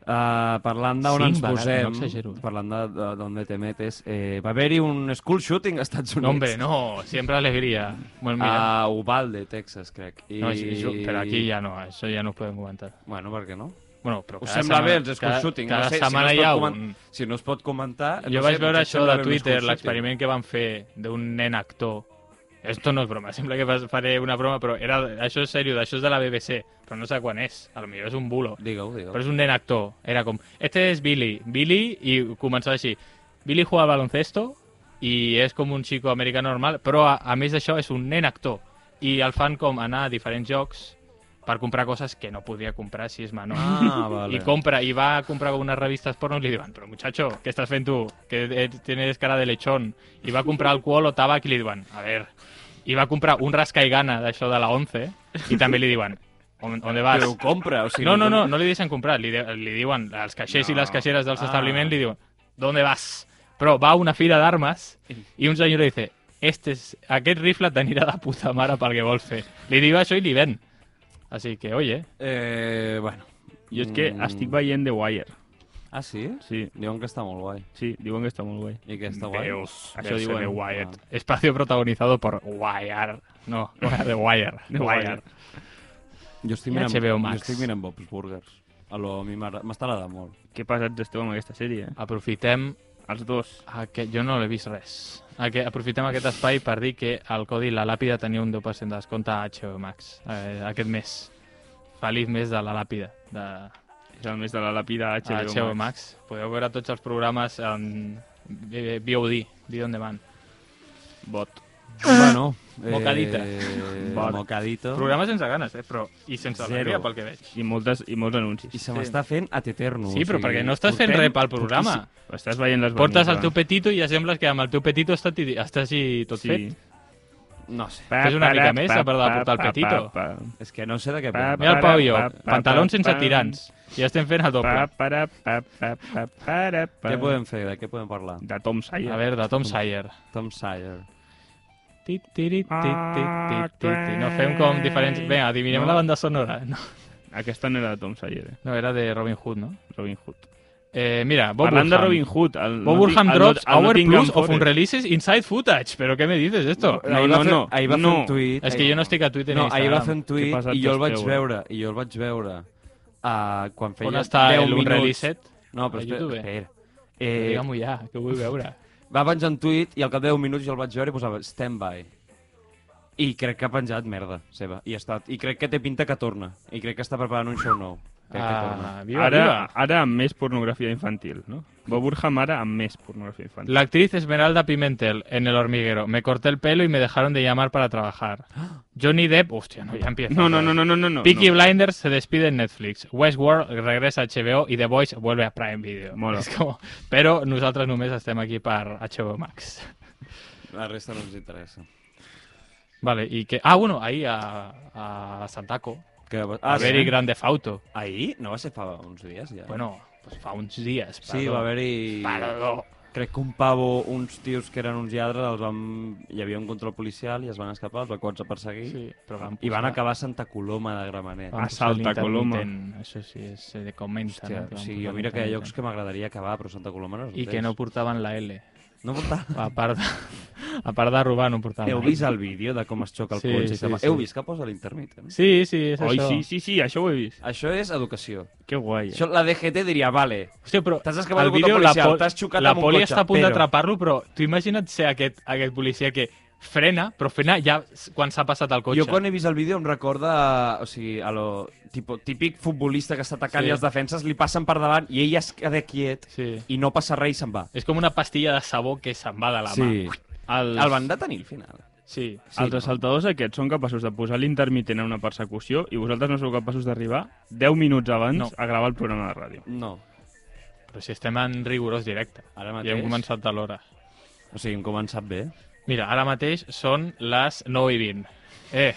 Speaker 3: Uh, parlant d'on
Speaker 5: Cinc
Speaker 3: ens
Speaker 5: vegades,
Speaker 3: posem,
Speaker 5: no exagero, eh?
Speaker 3: parlant de- de- d'on te metes, eh, va haver-hi un school shooting als Estats Units.
Speaker 5: No, hombre, no, siempre alegría. Bueno, mira,
Speaker 3: A Uvalde, Texas, crec. I...
Speaker 5: no, sí, eso- pero aquí ya no, eso ya nos pueden comentar.
Speaker 3: Bueno, per què no?
Speaker 5: Bueno, però
Speaker 3: Us
Speaker 5: cada
Speaker 3: sembla
Speaker 5: setmana-
Speaker 3: bé els school
Speaker 5: cada-
Speaker 3: shooting?
Speaker 5: Cada
Speaker 3: no sé,
Speaker 5: setmana
Speaker 3: si
Speaker 5: hi
Speaker 3: no es
Speaker 5: ha
Speaker 3: pot
Speaker 5: un...
Speaker 3: comen- Si no es pot comentar...
Speaker 5: Jo
Speaker 3: no
Speaker 5: vaig
Speaker 3: sé,
Speaker 5: veure
Speaker 3: potser
Speaker 5: això
Speaker 3: sembla
Speaker 5: de
Speaker 3: bé un
Speaker 5: Twitter,
Speaker 3: school shooting.
Speaker 5: l'experiment que van fer d'un nen actor. Esto no és broma, sembla que fas- faré una broma, però era, això és seriós, això és de la BBC, però no sé quan és, a lo millor és un bulo.
Speaker 3: Digue-ho, digue-ho.
Speaker 5: Però és un nen actor, era com, este és Billy, Billy, i començava així, Billy juega al baloncesto i és com un xico americà normal, però a, a més d'això és un nen actor, i el fan com anar a diferents jocs per comprar coses que no podia comprar si és menor.
Speaker 3: Ah, vale.
Speaker 5: Y compra, y va a comprar unas revistas porno y le digan, pero muchacho, ¿qué estás haciendo tú? Que eh, tienes cara de lechón. Y va a comprar alcohol o tabac y le digan, a ver. Y va a comprar un rasca y gana de eso de la 11 y también le digan, ¿on- ¿dónde vas?
Speaker 3: Però ho compra, o sigui...
Speaker 5: No, no, no, no le dicen comprar, le, de- le digan, las caixers y las caixeras de los
Speaker 3: Ah.
Speaker 5: establecimientos le digan, ¿dónde vas? Pero va a una fila de armas y un señor le dice, este es, aquel rifle tenirá la puta mara para que golfe. Le digo eso y le ven. Así que, oye,
Speaker 3: Eh, bueno.
Speaker 4: Jo és que
Speaker 3: Mm.
Speaker 4: estic veient The Wire.
Speaker 3: Ah, sí?
Speaker 4: Sí,
Speaker 3: Diuen que està molt guai.
Speaker 4: sí, diuen que està molt guai.
Speaker 3: I que està guai.
Speaker 5: Veus,
Speaker 4: Això
Speaker 5: verse
Speaker 4: diuen.
Speaker 5: de Wyatt.
Speaker 3: Ah.
Speaker 5: Espacio protagonizado por Wire. No, no era de Wire.
Speaker 4: De
Speaker 5: De
Speaker 4: Wire.
Speaker 5: Wire.
Speaker 3: Jo estic
Speaker 5: I
Speaker 3: mirant,
Speaker 5: HBO
Speaker 3: jo
Speaker 5: Max.
Speaker 3: estic mirant Bob's Burgers. Alò, a mi m'agra- m'estarà de molt.
Speaker 4: Què passats esteu amb aquesta sèrie? eh?
Speaker 5: Aprofitem
Speaker 4: Els dos.
Speaker 5: aquest... Jo no l'he vist res. Aquest... Aprofitem aquest espai per dir que el codi La Làpida tenia un 10% de descompte a HBO Max eh, aquest mes. Feliç mes de La Làpida, de
Speaker 4: És el més de la lapida
Speaker 5: HBO,
Speaker 4: HBO,
Speaker 5: Max. Podeu veure tots els programes en eh, VOD, Video on Demand.
Speaker 4: Bot.
Speaker 3: Bueno, eh,
Speaker 5: Ah. Mocadita.
Speaker 3: Vale. Mocadito.
Speaker 5: Programes sense ganes, eh? Però... I sense
Speaker 3: Zero.
Speaker 5: alegria, pel que veig.
Speaker 4: I, moltes, i molts anuncis.
Speaker 3: I se m'està fent a teterno.
Speaker 5: Sí,
Speaker 3: o
Speaker 5: però
Speaker 3: sigui,
Speaker 5: perquè no estàs fent
Speaker 3: portem
Speaker 5: res pel programa.
Speaker 3: poquíssim.
Speaker 4: Estàs veient les
Speaker 5: Portes el
Speaker 4: vanies,
Speaker 5: teu petito i ja sembles que amb el teu petito està, ti- està així tot sí. fet.
Speaker 3: No sé.
Speaker 5: Fes una mica més, a part de portar el petito.
Speaker 4: Pa,
Speaker 3: És que no sé de què
Speaker 4: Pa,
Speaker 3: parla.
Speaker 5: Mira el Pau i jo,
Speaker 4: Pa, pa, pa,
Speaker 5: pantalons sense
Speaker 4: pa.
Speaker 5: tirants. I estem fent el doble.
Speaker 4: pa, para, pa, pa, pa, para, pa.
Speaker 3: Què podem fer? De què podem parlar?
Speaker 4: De Tom Sawyer.
Speaker 5: A veure, de Tom Sawyer.
Speaker 3: Tom Sawyer.
Speaker 5: Ti, tiri, ti, ti, ti, ti, ti. No fem com diferents... Vinga, adivinem
Speaker 4: No.
Speaker 5: la banda sonora. No,
Speaker 4: Aquesta no era de Tom Sawyer, eh?
Speaker 5: no era de Robin Hood, no?
Speaker 4: Robin Hood.
Speaker 5: Eh, mira, Bob
Speaker 4: Parlant de
Speaker 5: Burham.
Speaker 4: Robin Hood... El,
Speaker 5: Bob Burham
Speaker 4: el- el-
Speaker 5: drops
Speaker 4: el
Speaker 5: Hour
Speaker 4: Nottingham
Speaker 5: Plus of
Speaker 4: Forest.
Speaker 5: Unreleases Inside Footage. Però què me dices, esto?
Speaker 4: No,
Speaker 3: Ahir va
Speaker 4: no,
Speaker 3: fer-
Speaker 4: no.
Speaker 3: Ahir va
Speaker 4: No.
Speaker 3: fer un tuit.
Speaker 5: És que jo no estic a Twitter
Speaker 3: No,
Speaker 5: ni
Speaker 3: ahir va fer
Speaker 5: Instagram.
Speaker 3: un tuit
Speaker 4: passat
Speaker 3: i jo el vaig
Speaker 4: esteu, eh?
Speaker 3: veure. I jo el vaig veure uh, quan feia
Speaker 5: On està
Speaker 3: 10 minuts.
Speaker 5: l'Unreleased?
Speaker 3: No,
Speaker 5: A
Speaker 3: però espera.
Speaker 5: YouTube?
Speaker 3: espera.
Speaker 5: Eh...
Speaker 3: Eh,
Speaker 5: Digue-m'ho ja, que ho vull veure.
Speaker 3: va penjar un tuit i al cap de 10 minuts jo el vaig veure i posava stand-by. I crec que ha penjat merda seva. I, ha estat. I crec que té pinta que torna. I crec que està preparant un show nou. Crec que torna.
Speaker 5: Ah, viva,
Speaker 4: ara,
Speaker 5: viva.
Speaker 4: ara amb més pornografia infantil, no? Bob Burham ara amb més pornografia infantil.
Speaker 5: La actriz Esmeralda Pimentel en El Hormiguero. Me corté el pelo y me dejaron de llamar para trabajar. Johnny Depp. Hostia, no, ya empieza.
Speaker 4: No, no, no, no, no, no. no.
Speaker 5: Peaky Blinders se despide en Netflix. Westworld regresa a HBO y The Voice vuelve a Prime Video.
Speaker 4: Mola.
Speaker 5: És com- Però nosaltres només estem aquí per HBO Max.
Speaker 3: La resta no ens interessa.
Speaker 5: Vale, i que... Ah, bueno, ahir a, a Santaco.
Speaker 3: Que... va-
Speaker 5: Ah, a haver-hi
Speaker 3: sí?
Speaker 5: Grande Fauto.
Speaker 3: Ahir? No va ser fa uns dies, ja.
Speaker 5: Bueno, pues fa uns dies.
Speaker 3: sí, va haver-hi...
Speaker 5: Perdó.
Speaker 3: Crec que un pavo, uns tios que eren uns lladres, els van... hi havia un control policial i es van escapar, els va cops a perseguir.
Speaker 5: Sí, però van
Speaker 3: I van
Speaker 5: posar-
Speaker 3: acabar a Santa Coloma de Gramenet.
Speaker 5: van
Speaker 4: A
Speaker 5: posar
Speaker 4: Salta,
Speaker 5: l'intermitent.
Speaker 4: Coloma.
Speaker 5: Això sí, es, se comenta.
Speaker 3: Hòstia,
Speaker 5: no?
Speaker 3: o
Speaker 5: Que van
Speaker 3: sigui,
Speaker 5: posar
Speaker 3: jo mira que hi ha
Speaker 5: l'intermitent.
Speaker 3: llocs que m'agradaria acabar, però Santa Coloma no és un
Speaker 5: I que no
Speaker 3: d'ells.
Speaker 5: portaven la L.
Speaker 3: No portava.
Speaker 5: A part de, a part de robar, no portaven
Speaker 3: Heu
Speaker 5: la L.
Speaker 3: vist el vídeo de com es xoca el
Speaker 5: Sí,
Speaker 3: cotxe? i
Speaker 5: sí,
Speaker 3: se'n va?
Speaker 5: sí.
Speaker 3: Heu vist que posa l'intermitent?
Speaker 5: Sí, sí, és
Speaker 4: Oi,
Speaker 5: això. eh.
Speaker 4: sí, sí, sí, això ho he vist.
Speaker 3: Això és educació.
Speaker 4: Que guai.
Speaker 3: Això la DGT diria, vale,
Speaker 5: Hòstia, però
Speaker 3: T'has escapat
Speaker 5: al
Speaker 3: d'un control policial,
Speaker 5: pol-
Speaker 3: t'has xocat
Speaker 5: la
Speaker 3: amb un
Speaker 5: poli
Speaker 3: cotxe,
Speaker 5: està a punt
Speaker 3: però-
Speaker 5: d'atrapar-lo, però tu imagina't ser aquest, aquest policia que frena, però frena ja s- quan s'ha passat el cotxe.
Speaker 3: Jo quan he vist el vídeo em recorda, o sigui, a lo tipo, típic futbolista que està atacant
Speaker 5: Sí.
Speaker 3: sí. i els defenses li passen per davant i ell es queda quiet
Speaker 5: Sí.
Speaker 3: i no passa res i se'n va.
Speaker 5: És com una pastilla de sabó que se'n va de la mà.
Speaker 4: Els,
Speaker 3: El van detenir al final.
Speaker 5: Sí.
Speaker 4: sí, els
Speaker 3: no?
Speaker 4: assaltadors aquests són capaços de posar l'intermitent en una persecució i vosaltres no sou capaços d'arribar 10 minuts abans
Speaker 5: No.
Speaker 4: a gravar el programa de ràdio.
Speaker 3: No.
Speaker 5: Però si estem en rigorós directe.
Speaker 3: Ara
Speaker 5: I hem
Speaker 3: mateix.
Speaker 5: començat a l'hora.
Speaker 3: O sigui, hem començat bé.
Speaker 5: Mira, ara mateix són les 9 i 20. Eh,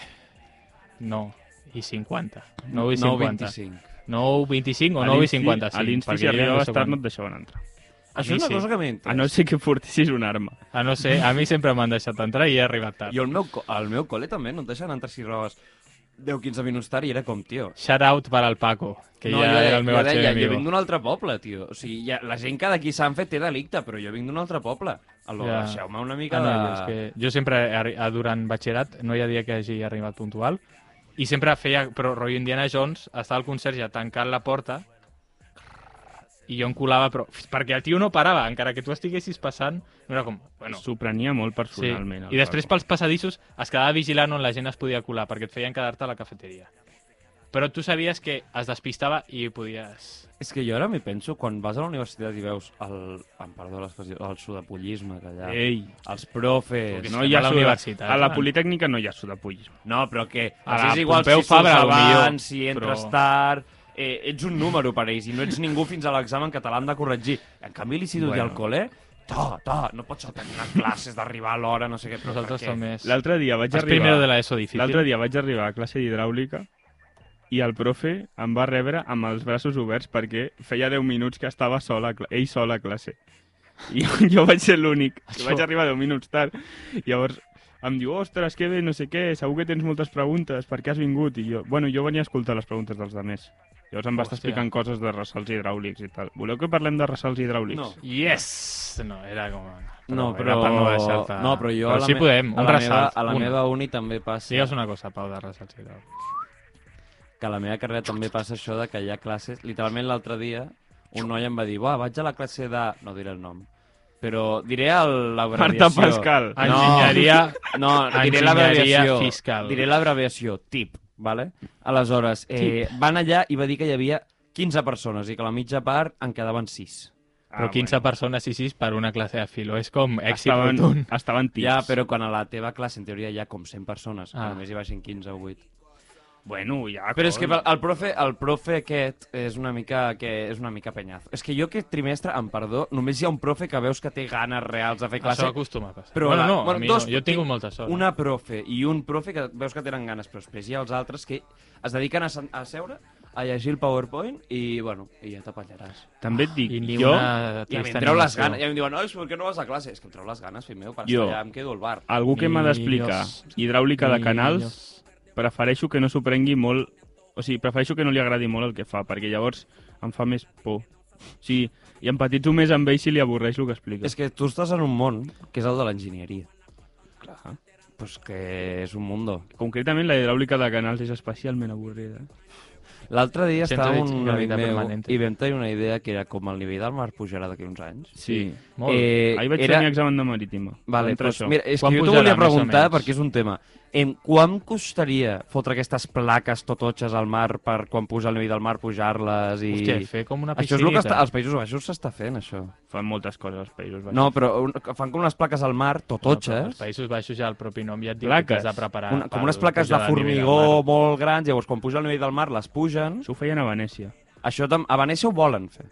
Speaker 5: no, i 50. 9 i 50.
Speaker 3: 9.25.
Speaker 5: 9 25 o
Speaker 4: A
Speaker 5: 9 i
Speaker 4: l'Insti-
Speaker 5: 55.
Speaker 4: A l'Insti, si
Speaker 5: perquè jo ja
Speaker 4: arribava a
Speaker 5: sé
Speaker 4: estar,
Speaker 5: quan-
Speaker 4: no et deixaven entrar.
Speaker 3: Això
Speaker 5: mi
Speaker 3: és una
Speaker 5: sí.
Speaker 3: cosa que m'he
Speaker 4: A
Speaker 3: entès.
Speaker 4: no ser que portessis una arma.
Speaker 5: A no ser, a mi sempre m'han deixat entrar i he arribat tard.
Speaker 3: Jo al meu, co- al meu col·le també no et deixen entrar si robes 10-15 minuts tard i era com, tio...
Speaker 5: Shout out per al Paco, que
Speaker 3: no,
Speaker 5: ja
Speaker 3: jo,
Speaker 5: era el meu
Speaker 3: jo, deia,
Speaker 5: arxivo
Speaker 3: jo vinc d'un altre poble, tio. O sigui, ja, la gent que d'aquí s'han fet té delicte, però jo vinc d'un altre poble. Alò,
Speaker 5: Ja.
Speaker 3: yeah. deixeu-me una mica
Speaker 5: Ah, no,
Speaker 3: de...
Speaker 5: jo, és que jo sempre, arri- a- durant batxillerat, no hi ha dia que hagi arribat puntual, i sempre feia, però rotllo Indiana Jones, estava al conserge tancant la porta, i jo em colava, però... Perquè el tio no parava, encara que tu estiguessis passant, Ah, no era com... Bueno,
Speaker 4: S'ho prenia molt
Speaker 5: sí.
Speaker 4: personalment. el
Speaker 5: I després
Speaker 4: Paco.
Speaker 5: pels passadissos es quedava vigilant on la gent es podia colar, perquè et feien quedar-te a la cafeteria. Però tu sabies que es despistava i podies...
Speaker 3: És que jo ara m'hi penso, quan vas a la universitat i veus el, em perdó l'expressió, el sudapollisme que allà...
Speaker 4: Ei,
Speaker 3: Els profes...
Speaker 5: Perquè
Speaker 4: no
Speaker 5: estem
Speaker 4: hi
Speaker 5: a
Speaker 4: ha
Speaker 5: la
Speaker 4: suda-
Speaker 5: universitat,
Speaker 4: A la
Speaker 5: man.
Speaker 4: Politècnica no hi ha sudapollisme.
Speaker 3: No, però que
Speaker 5: A
Speaker 3: els
Speaker 5: la
Speaker 3: és igual
Speaker 5: Ah, Pompeu
Speaker 3: si surts
Speaker 5: Fabra, potser,
Speaker 3: abans, si entres
Speaker 5: però-
Speaker 3: però... tard... Eh, ets un número per ells i no ets ningú fins a l'examen que te l'han de corregir. En canvi, l'Institut bueno. i
Speaker 4: Bueno.
Speaker 3: al col·le... To, to, no pots saltar classes d'arribar a l'hora, no sé què. Però
Speaker 5: Nosaltres
Speaker 3: per què?
Speaker 5: som més...
Speaker 4: L'altre dia vaig
Speaker 5: Els primero de
Speaker 4: arribar...
Speaker 5: la ESO difícil.
Speaker 4: L'altre dia vaig arribar a classe d'hidràulica i el profe em va rebre amb els braços oberts perquè feia 10 minuts que estava sol a cla- ell sol a classe. I jo vaig ser l'únic. Jo vaig arribar 10 minuts tard. Llavors em diu, ostres, que bé, no sé què, segur que tens moltes preguntes, per què has vingut? I jo, bueno, jo venia a escoltar les preguntes dels altres. Llavors em va estar
Speaker 5: Hòstia.
Speaker 4: explicant coses de ressalts hidràulics i tal. Voleu que parlem de ressalts hidràulics?
Speaker 3: No.
Speaker 5: Yes! No, era com...
Speaker 3: No,
Speaker 5: era
Speaker 3: però...
Speaker 5: per no, deixar-te-
Speaker 3: no, però jo... a
Speaker 5: Però
Speaker 3: la
Speaker 5: sí
Speaker 3: me- a
Speaker 5: podem, un
Speaker 3: la meva,
Speaker 5: ressalt.
Speaker 3: a la
Speaker 5: un.
Speaker 3: meva uni també passa...
Speaker 5: Digues una cosa, Pau, de ressalt. Sí,
Speaker 3: que a la meva carrera també passa això de que hi ha classes... Literalment l'altre dia un noi em va dir «Buah, vaig a la classe de...» No diré el nom, però diré el,
Speaker 4: Marta
Speaker 3: l'abreviació.
Speaker 4: Pascal.
Speaker 5: Ah, Enginyeria-
Speaker 3: No, diré
Speaker 5: Enginyeria
Speaker 3: l'abreviació.
Speaker 5: fiscal.
Speaker 3: Diré l'abreviació, TIP, vale? Aleshores, eh, van allà i va dir que hi havia 15 persones i que a la mitja part en quedaven 6. Ah,
Speaker 4: Ah,
Speaker 5: però 15 persones i 6 per una classe de filo. És com èxit
Speaker 4: estaven,
Speaker 5: rotund.
Speaker 4: estaven tips.
Speaker 3: Ja, però quan a la teva classe, en teoria, hi ha com 100 persones,
Speaker 5: Ah.
Speaker 3: ah. només hi baixin 15 o 8.
Speaker 4: Bueno, ja...
Speaker 3: Però és que ah,
Speaker 4: cony.
Speaker 3: el profe, el profe aquest és una mica, que és una mica penyazo. És que jo aquest trimestre, em perdó, només hi ha un profe que veus que té ganes reals de fer
Speaker 5: Això
Speaker 3: classe.
Speaker 5: acostuma a passar.
Speaker 3: Però
Speaker 5: bueno,
Speaker 3: la-
Speaker 5: no,
Speaker 3: bueno,
Speaker 5: a mi
Speaker 3: dos-
Speaker 5: no. Jo he tingut molta sort.
Speaker 3: Una profe i un profe que veus que tenen ganes, però després hi ha els altres que es dediquen a, sen- a seure, a llegir el PowerPoint i, bueno, i ja t'apallaràs.
Speaker 4: També et dic,
Speaker 5: I ni
Speaker 4: jo,
Speaker 3: I
Speaker 5: una
Speaker 3: a mi
Speaker 5: trista
Speaker 3: em treu les
Speaker 5: animació.
Speaker 3: ganes. I a mi em diuen, nois, per què no vas a classe? És que em treu les ganes, fill meu, per
Speaker 4: Jo.
Speaker 3: estar allà em quedo al bar.
Speaker 4: algú que m'ha
Speaker 5: Niños.
Speaker 4: d'explicar hidràulica de canals, prefereixo que no s'ho prengui molt... O sigui, prefereixo que no li agradi molt el que fa, perquè llavors em fa més por. O sigui, i empatitzo més amb ell si li avorreix el que explica.
Speaker 3: És que tu estàs en un món, que és el de l'enginyeria. Clar. Pues que és un mundo.
Speaker 4: Ah. Concretament, la hidràulica de canals és especialment avorrida.
Speaker 3: L'altre dia
Speaker 5: Centre
Speaker 3: estava
Speaker 5: de
Speaker 3: amb un amic
Speaker 5: gravitat
Speaker 3: meu
Speaker 5: permanente.
Speaker 4: eh?
Speaker 3: i vam tenir una idea que era com el nivell del mar pujarà d'aquí uns anys.
Speaker 4: Sí.
Speaker 5: Molt bé.
Speaker 3: Eh,
Speaker 4: Ahir vaig
Speaker 3: era...
Speaker 4: tenir examen de marítima.
Speaker 3: Vale,
Speaker 4: Entre
Speaker 3: doncs,
Speaker 4: això.
Speaker 3: mira, és
Speaker 5: Quan
Speaker 3: que jo t'ho
Speaker 5: pujarà,
Speaker 3: volia
Speaker 5: més o
Speaker 3: preguntar
Speaker 5: menys?
Speaker 3: perquè és un tema. Em, quan costaria fotre aquestes plaques tototxes al mar per quan puja el nivell del mar pujar-les i...
Speaker 5: Hòstia, fer com una
Speaker 3: això és el que
Speaker 5: piscinita.
Speaker 3: està... als Països Baixos s'està fent, això.
Speaker 4: Fan moltes coses als Països Baixos.
Speaker 3: No, però un... fan com unes plaques al mar,
Speaker 5: No, però
Speaker 3: tototxes,
Speaker 5: als Països Baixos ja el propi nom ja et diu
Speaker 4: Plaques.
Speaker 5: que t'has de preparar.
Speaker 3: una,
Speaker 5: per
Speaker 3: com unes plaques de
Speaker 5: pujar de nivell al
Speaker 3: formigó
Speaker 5: mar.
Speaker 3: molt grans, llavors quan puja el nivell del mar les pugen.
Speaker 4: Això ho feien a Venècia.
Speaker 3: Això tam- a Venècia ho volen fer.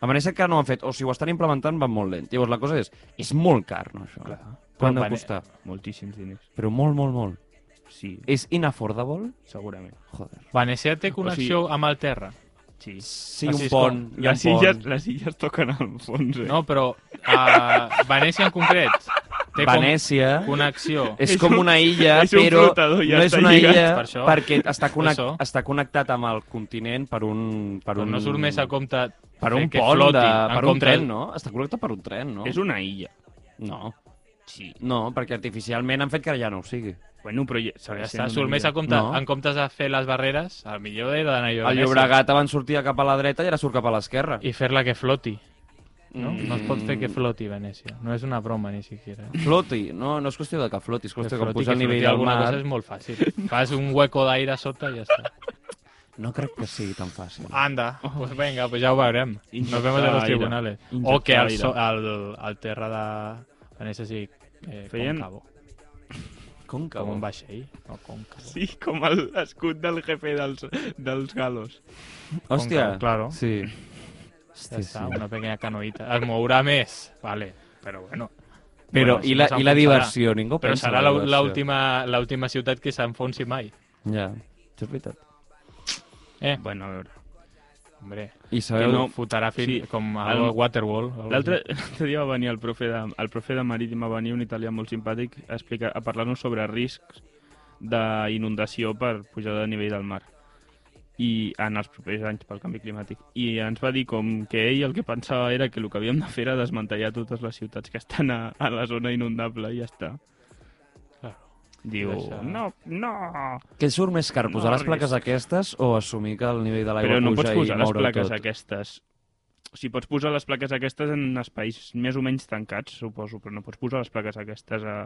Speaker 3: A Venècia encara no ho han fet, o si ho estan implementant van molt lent. Llavors la cosa és, és molt car, no, això?
Speaker 4: Clar.
Speaker 3: Quan ha
Speaker 5: Però
Speaker 3: de
Speaker 5: Vene-
Speaker 3: costar?
Speaker 4: Moltíssims diners.
Speaker 3: Però molt, molt, molt.
Speaker 4: Sí,
Speaker 3: És inaffordable?
Speaker 4: segurament.
Speaker 3: Joder.
Speaker 5: Venècia té connexió amb el terra.
Speaker 4: Sí.
Speaker 3: Sí,
Speaker 5: Així
Speaker 3: un
Speaker 5: és
Speaker 3: pont.
Speaker 5: com-
Speaker 3: hi ha un
Speaker 4: Les illes,
Speaker 3: pont.
Speaker 4: les illes toquen al fons, eh?
Speaker 5: No, però uh, Venècia en concret té
Speaker 3: Venècia Eh,
Speaker 5: com connexió.
Speaker 3: és
Speaker 4: És
Speaker 3: com
Speaker 4: un-
Speaker 3: una illa,
Speaker 4: és un
Speaker 3: però
Speaker 4: flotador, ja
Speaker 3: no és
Speaker 4: està
Speaker 3: una
Speaker 4: lligat.
Speaker 3: illa
Speaker 5: Per això.
Speaker 3: perquè està, connect,
Speaker 5: això.
Speaker 3: està connectat amb el continent per un... Per
Speaker 5: Però
Speaker 3: un,
Speaker 5: no surt més a compte
Speaker 3: per
Speaker 5: fer
Speaker 3: un
Speaker 5: que
Speaker 3: pont,
Speaker 5: floti,
Speaker 3: de,
Speaker 5: en
Speaker 3: per un
Speaker 5: compte-
Speaker 3: tren, no? Està connectat per un tren, no?
Speaker 4: És una illa.
Speaker 3: No,
Speaker 4: Sí.
Speaker 3: no, perquè artificialment han fet que ja no ho sigui.
Speaker 4: Bueno, però ja,
Speaker 5: Però
Speaker 4: segueix
Speaker 5: ja està,
Speaker 4: sent
Speaker 5: surt
Speaker 4: una
Speaker 5: més a
Speaker 4: illa.
Speaker 5: compte,
Speaker 3: No.
Speaker 5: en comptes de fer les barreres, el millor era d'anar a
Speaker 3: El
Speaker 5: Venècia
Speaker 3: Llobregat abans sortia cap a la dreta i ara surt cap a l'esquerra.
Speaker 5: i fer-la que floti. No?
Speaker 3: Mm.
Speaker 5: no es pot fer que floti Venècia. No és una broma, ni siquiera. eh?
Speaker 3: Floti, no, no és qüestió de que floti, és qüestió que, que
Speaker 5: floti,
Speaker 3: puja el
Speaker 5: floti
Speaker 3: nivell del
Speaker 5: alguna
Speaker 3: mar.
Speaker 5: cosa és molt fàcil. Fas un hueco d'aire a sota i ja està.
Speaker 3: No crec que sigui tan fàcil.
Speaker 5: Anda, pues venga, pues ja ho veurem.
Speaker 4: Injectar
Speaker 5: Nos vemos en los
Speaker 4: aire.
Speaker 5: tribunales.
Speaker 4: Injectar
Speaker 5: O que el, so,
Speaker 4: aire.
Speaker 5: el, el terra de Venècia sigui eh,
Speaker 4: Feien-
Speaker 5: concavo,
Speaker 3: Com que
Speaker 5: com
Speaker 3: bo.
Speaker 5: un vaixell. No, concavo.
Speaker 4: Sí, com el- l'escut del jefe dels, dels galos.
Speaker 3: Hòstia,
Speaker 5: Com que, claro.
Speaker 3: sí.
Speaker 5: Ja
Speaker 3: Hòstia,
Speaker 5: està,
Speaker 3: sí.
Speaker 5: una pequeña canoita. Es mourà més, vale, però bueno.
Speaker 3: Però,
Speaker 5: Bueno,
Speaker 3: i la,
Speaker 5: no
Speaker 3: i la
Speaker 5: s'enfonsarà.
Speaker 3: diversió? Ningú
Speaker 5: Però
Speaker 3: pensa
Speaker 5: serà
Speaker 3: en la
Speaker 5: la-
Speaker 3: diversió.
Speaker 5: l'última l'última ciutat que s'enfonsi mai.
Speaker 3: Ja, això és veritat.
Speaker 5: Eh,
Speaker 4: Bueno, a veure.
Speaker 5: hombre,
Speaker 3: I
Speaker 5: que
Speaker 3: sabeu...
Speaker 5: no fotrà fil
Speaker 4: sí.
Speaker 5: com
Speaker 4: El-
Speaker 5: el Waterwall. o algo
Speaker 4: L'altre
Speaker 5: així.
Speaker 4: l'altre dia va venir el profe de, el profe de Marítima, va venir un italià molt simpàtic a, explicar, a parlar-nos sobre riscs d'inundació per pujada de nivell del mar i en els propers anys pel canvi climàtic. I ens va dir com que ell el que pensava era que el que havíem de fer era desmantellar totes les ciutats que estan a, a la zona inundable i ja està.
Speaker 5: Claro.
Speaker 4: Diu,
Speaker 5: Deixa-
Speaker 4: no, no!
Speaker 3: Què surt més car,
Speaker 4: No
Speaker 3: posar les plaques
Speaker 4: arribis.
Speaker 3: aquestes o assumir que el nivell de l'aigua
Speaker 4: Però no
Speaker 3: puja
Speaker 4: pots posar
Speaker 3: i
Speaker 4: les
Speaker 3: moure
Speaker 4: plaques
Speaker 3: tot?
Speaker 4: aquestes. O sigui, pots posar les plaques aquestes en espais més o menys tancats, suposo, però no pots posar les plaques aquestes a...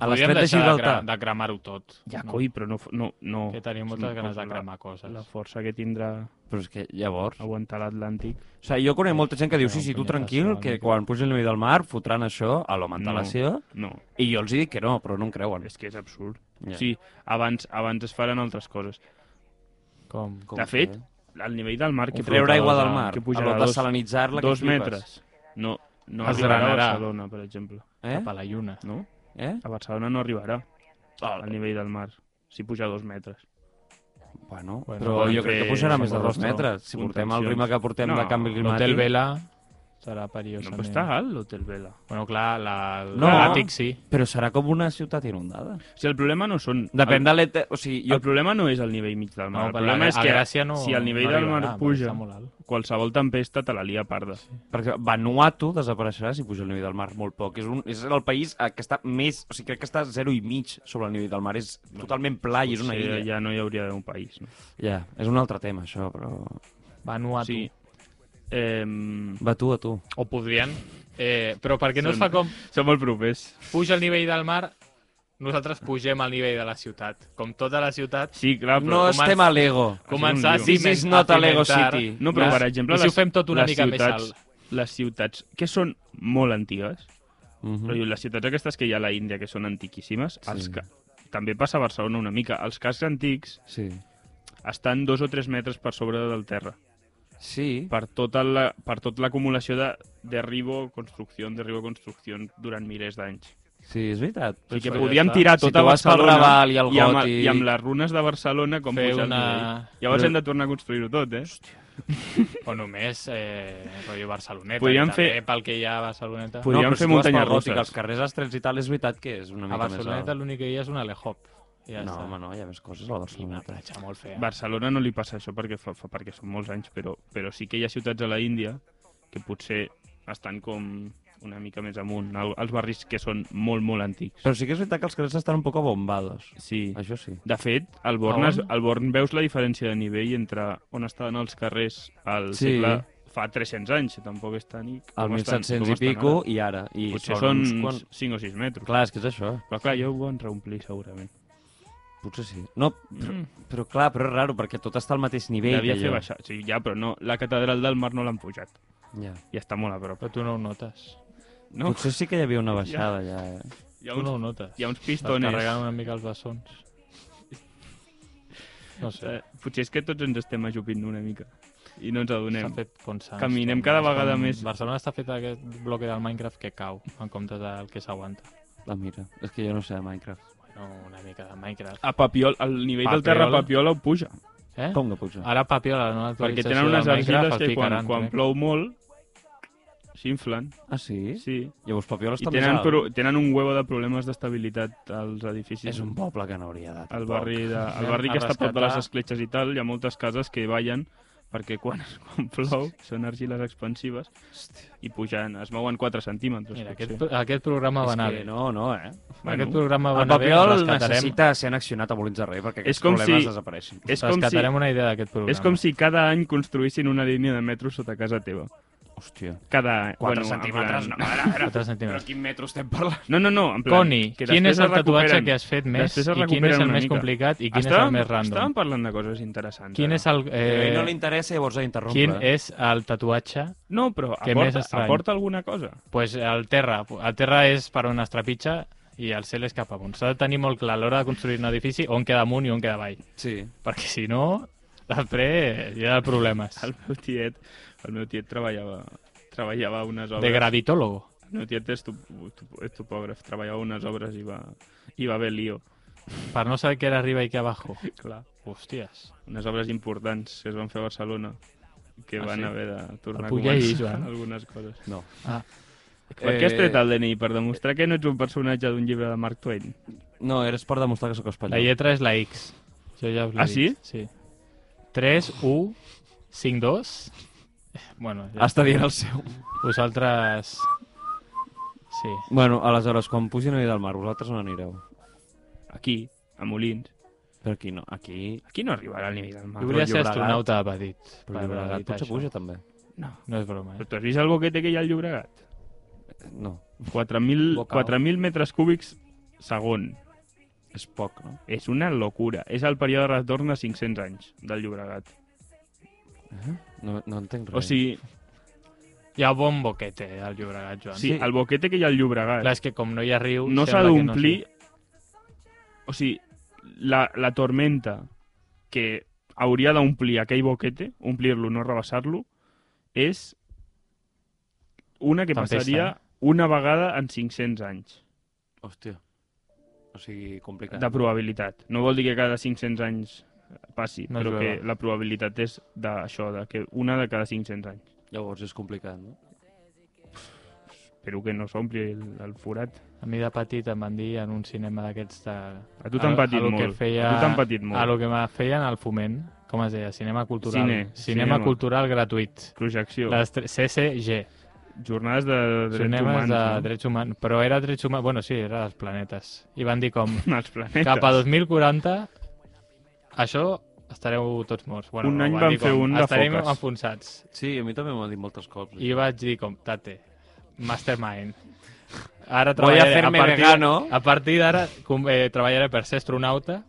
Speaker 3: A
Speaker 5: Podríem
Speaker 3: l'estret de
Speaker 5: deixar de, cre
Speaker 3: Gibraltar.
Speaker 5: de cremar-ho tot.
Speaker 4: Ja,
Speaker 5: no?
Speaker 4: coi, però no... f- no, no.
Speaker 5: Que tenim moltes
Speaker 4: No,
Speaker 5: ganes de
Speaker 4: la-
Speaker 5: cremar coses.
Speaker 4: La força que tindrà
Speaker 3: Però és que llavors...
Speaker 4: aguantar l'Atlàntic...
Speaker 3: O sigui, jo conec molta gent que diu,
Speaker 5: Però
Speaker 3: sí, sí, tu
Speaker 5: punyetazos,
Speaker 3: tranquil,
Speaker 5: una
Speaker 3: que
Speaker 5: mica.
Speaker 3: quan puja el nivell del mar fotran això a l'amantalació.
Speaker 4: No,
Speaker 3: I jo els dic que no, però no em creuen.
Speaker 4: és que és absurd.
Speaker 3: Ja.
Speaker 4: Sí, abans, abans es faran altres coses.
Speaker 5: Com?
Speaker 3: Com
Speaker 4: De
Speaker 3: que-
Speaker 4: fet, el nivell del mar... Que
Speaker 3: treure aigua del
Speaker 4: pujarà-
Speaker 3: mar,
Speaker 4: Que pujarà
Speaker 3: a
Speaker 4: dos,
Speaker 3: desalinitzar-la, que
Speaker 4: dos
Speaker 3: flipes.
Speaker 4: metres. No, no
Speaker 5: Es
Speaker 4: arribarà a
Speaker 5: drenarà.
Speaker 4: Barcelona, per exemple.
Speaker 3: Eh?
Speaker 5: Cap a la lluna.
Speaker 4: No?
Speaker 3: Eh?
Speaker 4: A Barcelona no arribarà
Speaker 3: Ah,
Speaker 4: al nivell del mar, si puja dos metres.
Speaker 3: Bueno,
Speaker 5: Bueno,
Speaker 3: però
Speaker 5: poden
Speaker 3: jo crec que
Speaker 4: fer-
Speaker 3: pujarà més de
Speaker 4: poden
Speaker 3: dos
Speaker 4: fer
Speaker 3: metres. Si portem el ritme que portem
Speaker 4: No,
Speaker 3: de canvi
Speaker 5: L'hotel
Speaker 3: climàtic...
Speaker 5: Vela serà
Speaker 4: No,
Speaker 5: perillosament...
Speaker 4: però està alt l'hotel Vela.
Speaker 5: Bueno, clar, la-
Speaker 3: No.
Speaker 5: l'Atlàntic la, sí.
Speaker 3: Però serà com una ciutat inundada.
Speaker 4: O sigui, el problema no són...
Speaker 3: Depèn
Speaker 4: el,
Speaker 3: de l'ete... O sigui,
Speaker 4: Jo...
Speaker 3: jo...
Speaker 4: El problema no és el nivell mig del
Speaker 5: No,
Speaker 4: mar. el
Speaker 5: però
Speaker 4: problema
Speaker 5: a-
Speaker 4: és
Speaker 5: a
Speaker 4: que
Speaker 5: Gràcia no,
Speaker 4: si el nivell
Speaker 5: no
Speaker 4: del
Speaker 5: arribarà,
Speaker 4: mar
Speaker 5: perquè
Speaker 4: puja,
Speaker 5: Està molt alt.
Speaker 4: qualsevol tempesta te la lia parda. Sí.
Speaker 3: Per exemple, Vanuatu desapareixerà si puja el nivell del mar molt poc. És, un, és el país eh, que està més... O sigui, crec que està zero i mig sobre el nivell del mar. És totalment
Speaker 5: Ah,
Speaker 3: pla i és una illa. Ja.
Speaker 4: Ja no hi hauria d'haver un país. No?
Speaker 3: és un altre tema, això, però...
Speaker 5: Vanuatu.
Speaker 4: Sí. Ehm...
Speaker 3: Va tu a tu.
Speaker 5: O podrien... Eh, però per què no es fa com
Speaker 4: Som molt propers.
Speaker 5: puja el nivell del mar, nosaltres pugem al nivell de la ciutat. Com tota la ciutat,
Speaker 4: Sí, clar,
Speaker 3: No
Speaker 4: però...
Speaker 5: comença-
Speaker 3: estem a l'ego.
Speaker 5: començar a
Speaker 4: lío.
Speaker 3: This
Speaker 5: cimen-
Speaker 3: is not a Lego
Speaker 5: cimentar.
Speaker 3: City.
Speaker 4: No, però,
Speaker 5: Les-
Speaker 4: per exemple,
Speaker 5: i si ho
Speaker 4: les,
Speaker 5: fem tot una
Speaker 4: les
Speaker 5: mica més
Speaker 4: ciutats,
Speaker 5: alt?
Speaker 4: Les ciutats, que són molt antigues,
Speaker 3: Mhm.
Speaker 4: Però les ciutats aquestes que hi ha a la Índia, que són antiquíssimes,
Speaker 3: Sí.
Speaker 4: els ca... també passa a Barcelona una mica. Els cascs antics
Speaker 3: Sí.
Speaker 4: estan dos o tres metres per sobre del terra.
Speaker 3: Sí.
Speaker 4: Per tota la- per tot l'acumulació la, de derribo, construcció, derribo, construcció durant milers d'anys.
Speaker 3: Sí, és veritat.
Speaker 4: O sigui que
Speaker 5: Això ja
Speaker 4: podíem
Speaker 5: està.
Speaker 4: tirar
Speaker 3: Si
Speaker 4: tota
Speaker 3: tu vas pel
Speaker 4: Barcelona
Speaker 3: Raval i el
Speaker 4: i, amb,
Speaker 3: Gòtic-
Speaker 4: i amb les runes de Barcelona com
Speaker 5: Fer
Speaker 4: pujar
Speaker 5: una-
Speaker 4: el nivell. Llavors
Speaker 3: Però-
Speaker 4: hem de tornar a construir-ho tot, eh?
Speaker 5: o només eh, rotllo Barceloneta.
Speaker 4: Podríem
Speaker 5: que també
Speaker 4: fer-
Speaker 5: pel que hi ha a Barceloneta.
Speaker 4: Podríem
Speaker 3: però
Speaker 4: fer
Speaker 3: tu vas pel
Speaker 4: muntanyes
Speaker 3: Gòtic,
Speaker 4: russes.
Speaker 3: Els carrers estrets i tal, és veritat que és una
Speaker 5: a
Speaker 3: mica més
Speaker 5: Barceloneta
Speaker 3: alt.
Speaker 5: l'únic que hi ha és una Lehop. Ja
Speaker 3: no,
Speaker 5: està.
Speaker 3: home, no, hi ha més coses a la
Speaker 5: I una
Speaker 3: Barceloneta.
Speaker 5: platja molt fea.
Speaker 4: Barcelona no li passa això perquè, fa, fa, perquè són molts anys, però, però sí que hi ha ciutats a la Índia que potser estan com una mica més amunt, al, als barris que són molt, molt antics.
Speaker 3: Però sí que és veritat que els carrers estan un poc abombados.
Speaker 4: Sí.
Speaker 3: Això sí.
Speaker 4: De fet, al Born,
Speaker 5: A
Speaker 4: es,
Speaker 5: on?
Speaker 4: al Born veus la diferència de nivell entre on estaven els carrers
Speaker 3: Sí.
Speaker 4: al sí. segle fa 300 anys, que tampoc està ni...
Speaker 3: Al
Speaker 4: com estan-
Speaker 3: 1700
Speaker 4: com
Speaker 3: i
Speaker 4: estan
Speaker 3: pico
Speaker 4: ara.
Speaker 3: i ara. I
Speaker 4: Potser són
Speaker 3: uns quants-
Speaker 4: 5 o 6 metres.
Speaker 3: Clar, és que és això.
Speaker 4: Però clar, jo ho en reomplir segurament.
Speaker 3: Potser sí. No, però, però clar, però és raro, perquè tot està al mateix nivell
Speaker 4: Devia
Speaker 3: que
Speaker 4: fer
Speaker 3: jo.
Speaker 4: baixar. Sí, ja, però no, la catedral del mar no l'han pujat.
Speaker 3: Ja.
Speaker 4: I està molt a prop.
Speaker 5: Però tu no ho notes.
Speaker 4: No?
Speaker 3: Potser sí que hi havia una baixada ja. eh?
Speaker 4: Hi ha
Speaker 5: Tu
Speaker 4: uns,
Speaker 5: no ho notes.
Speaker 4: hi ha uns
Speaker 5: Estàs
Speaker 4: pistones
Speaker 5: carregant una mica els bessons. No sé,
Speaker 4: Eh, potser és que tots ens estem ajupint una mica i no ens adonem.
Speaker 5: s'ha fet com Sants.
Speaker 4: Caminem
Speaker 5: com-
Speaker 4: cada vegada
Speaker 5: com-
Speaker 4: més.
Speaker 5: Barcelona està fet aquest bloque del Minecraft que cau, en comptes del que s'aguanta.
Speaker 3: La mira, és que jo no sé de Minecraft.
Speaker 5: Bueno, una mica de Minecraft.
Speaker 4: A Papiol, el nivell
Speaker 5: Papiol.
Speaker 4: del terra a Papiol ho puja,
Speaker 5: Eh?
Speaker 3: Com que puc ser?
Speaker 5: Ara Papiol, a la nova
Speaker 4: perquè
Speaker 5: actualització
Speaker 4: tenen unes
Speaker 5: del Minecraft
Speaker 4: argiles
Speaker 5: el
Speaker 4: que quan,
Speaker 5: picaran, eh?
Speaker 4: quan
Speaker 5: crec.
Speaker 4: plou molt s'inflen,
Speaker 3: Ah, sí?
Speaker 4: sí.
Speaker 3: Llavors Papiol
Speaker 4: I
Speaker 3: està més
Speaker 4: tenen,
Speaker 3: alt.
Speaker 4: pro, tenen un huevo de problemes d'estabilitat als edificis.
Speaker 3: És un poble que no hauria de...
Speaker 4: el barri, de, el
Speaker 5: Anem
Speaker 4: barri
Speaker 5: a
Speaker 4: que està a prop de les
Speaker 5: rescatar.
Speaker 4: escletxes i tal, hi ha moltes cases que ballen perquè quan, quan plou són argiles expansives i pujan, es mouen 4 centímetres.
Speaker 5: Mira,
Speaker 4: potser.
Speaker 5: aquest, aquest programa va
Speaker 3: És
Speaker 5: anar
Speaker 3: que
Speaker 5: bé.
Speaker 3: no, no, eh?
Speaker 4: Bueno,
Speaker 5: Aquest programa va
Speaker 3: El
Speaker 5: anar bé,
Speaker 3: Papiol
Speaker 5: rescatarem-
Speaker 3: necessita ser annexionat a Molins de Rei perquè
Speaker 4: És
Speaker 3: aquests
Speaker 4: com
Speaker 3: problemes
Speaker 4: si-
Speaker 3: desapareixin.
Speaker 4: és com si,
Speaker 5: rescatarem una idea d'aquest programa.
Speaker 4: és com si cada any construïssin una línia de metro sota casa teva.
Speaker 3: Hòstia.
Speaker 4: cada...
Speaker 3: 4 bueno, centímetres, no,
Speaker 4: en
Speaker 3: a
Speaker 4: plan...
Speaker 3: veure, a veure,
Speaker 5: Quatre centímetres.
Speaker 3: però quin metro estem parlant?
Speaker 4: no. No, no, en plan...
Speaker 5: Coni,
Speaker 4: que
Speaker 5: quin
Speaker 4: després
Speaker 5: és el
Speaker 4: es
Speaker 5: tatuatge
Speaker 4: recuperen.
Speaker 5: que has fet més
Speaker 4: Després es
Speaker 5: i quin és
Speaker 4: recuperen
Speaker 5: el
Speaker 4: una
Speaker 5: més
Speaker 4: mica.
Speaker 5: complicat i quin és el
Speaker 4: Estàvem-
Speaker 5: més random?
Speaker 4: Estàvem parlant de coses interessants.
Speaker 5: Quin
Speaker 4: ara.
Speaker 5: és el,
Speaker 3: Eh... A ell no li
Speaker 5: eh,
Speaker 3: interessa, llavors ha d'interrompre.
Speaker 5: quin és el tatuatge?
Speaker 4: No, però
Speaker 5: Què més
Speaker 4: aporta,
Speaker 5: estrany?
Speaker 4: aporta alguna cosa.
Speaker 5: pues el terra. El terra és per on es trepitja i el cel és cap amunt. S'ha de tenir molt clar a l'hora de construir un edifici on queda amunt i on queda avall.
Speaker 3: Sí.
Speaker 5: Perquè si no, després hi ha problemes.
Speaker 4: El meu tiet, el meu tiet treballava treballava a unes obres.
Speaker 5: De gravitólogo.
Speaker 4: El meu tiet és, top, top, és topògraf, treballava a unes obres i va, i va haver lío,
Speaker 5: Per no saber què era arriba i què abajo.
Speaker 4: clar.
Speaker 5: Hòsties.
Speaker 4: Unes obres importants que es van fer a Barcelona que
Speaker 5: Ah,
Speaker 4: van
Speaker 5: sí?
Speaker 4: haver de tornar
Speaker 5: El
Speaker 4: a
Speaker 5: puc llegir,
Speaker 4: començar
Speaker 5: Joan?
Speaker 4: algunes coses.
Speaker 3: No.
Speaker 5: Ah.
Speaker 4: Per què has tret el DNI? Per demostrar que no ets un personatge d'un llibre de Mark Twain?
Speaker 3: No, eres per demostrar que sóc espanyol.
Speaker 5: La lletra és la X. Jo ja us l'he
Speaker 4: Ah,
Speaker 5: dit. Sí. 3, 1, 5, 2... Bueno, ja
Speaker 3: Està dient el seu.
Speaker 5: vosaltres... Sí.
Speaker 3: Bueno, aleshores, quan pugin a Vic del Mar, vosaltres on anireu?
Speaker 4: Aquí, a Molins.
Speaker 3: Però aquí no, aquí...
Speaker 4: Aquí no arribarà al nivell del mar.
Speaker 5: Jo volia ser
Speaker 3: Ah, Llobregat.
Speaker 5: astronauta de petit.
Speaker 3: Però Llobregat potser
Speaker 5: això.
Speaker 3: puja també.
Speaker 4: No.
Speaker 5: No és broma,
Speaker 4: Però
Speaker 5: eh?
Speaker 4: tu has vist el boquete que hi ha al Llobregat?
Speaker 3: No,
Speaker 4: 4.000
Speaker 3: Bocao.
Speaker 4: 4.000 metres cúbics segon.
Speaker 3: és poc, no?
Speaker 4: És una locura. És el període de retorn de 500 anys del Llobregat.
Speaker 3: No, no entenc res.
Speaker 4: O sigui,
Speaker 5: Hi ha bon boquete eh, al Llobregat, Joan.
Speaker 4: sí, el boquete que hi ha al Llobregat
Speaker 5: Clar, és que com no hi ha riu...
Speaker 4: no s'ha
Speaker 5: sembla que no
Speaker 4: d'omplir... O sigui, la, la tormenta que hauria d'omplir aquell boquete, omplir-lo, no rebassar-lo, és una que
Speaker 5: Tempesta,
Speaker 4: passaria
Speaker 5: eh?
Speaker 4: una vegada en 500 anys.
Speaker 3: Hòstia. O sigui,
Speaker 5: Eh.
Speaker 3: complicat.
Speaker 4: de probabilitat. No vol dir que cada 500 anys passi,
Speaker 5: No
Speaker 4: no però que
Speaker 5: llueva.
Speaker 4: la probabilitat és d'això, de que una de cada 500 anys.
Speaker 3: Llavors és complicat, no?
Speaker 4: Espero que no s'ompli el, el forat.
Speaker 5: A mi de petit em van dir en un cinema d'aquests de...
Speaker 4: A tu t'han patit
Speaker 5: lo que
Speaker 4: molt.
Speaker 5: Feia...
Speaker 4: A tu t'han patit molt.
Speaker 5: A lo que me feien al foment, com es deia, cinema cultural.
Speaker 4: Cine,
Speaker 5: cinema,
Speaker 4: cinema.
Speaker 5: cultural gratuït.
Speaker 4: Projecció. Les...
Speaker 5: Les tre- CCG,
Speaker 4: Jornades de drets
Speaker 5: cinemes
Speaker 4: humans.
Speaker 5: de
Speaker 4: no?
Speaker 5: drets humans. Però era drets humans, bueno, sí, era dels planetes. I van dir com,
Speaker 4: Els planetes.
Speaker 5: cap a 2040, això estareu tots morts. Bueno,
Speaker 4: Un
Speaker 5: no,
Speaker 4: any
Speaker 5: van
Speaker 4: van
Speaker 5: dir
Speaker 4: fer
Speaker 5: com,
Speaker 4: un de
Speaker 5: Estarem
Speaker 4: foques.
Speaker 5: enfonsats.
Speaker 3: Sí, a mi també m'ho han dit moltes cops.
Speaker 5: I vaig dir com, tate, mastermind.
Speaker 3: Voy
Speaker 5: Ara
Speaker 3: a
Speaker 5: treballaré
Speaker 3: hacerme
Speaker 5: a partir,
Speaker 3: vegano.
Speaker 5: A partir d'ara com- eh, treballaré per ser astronauta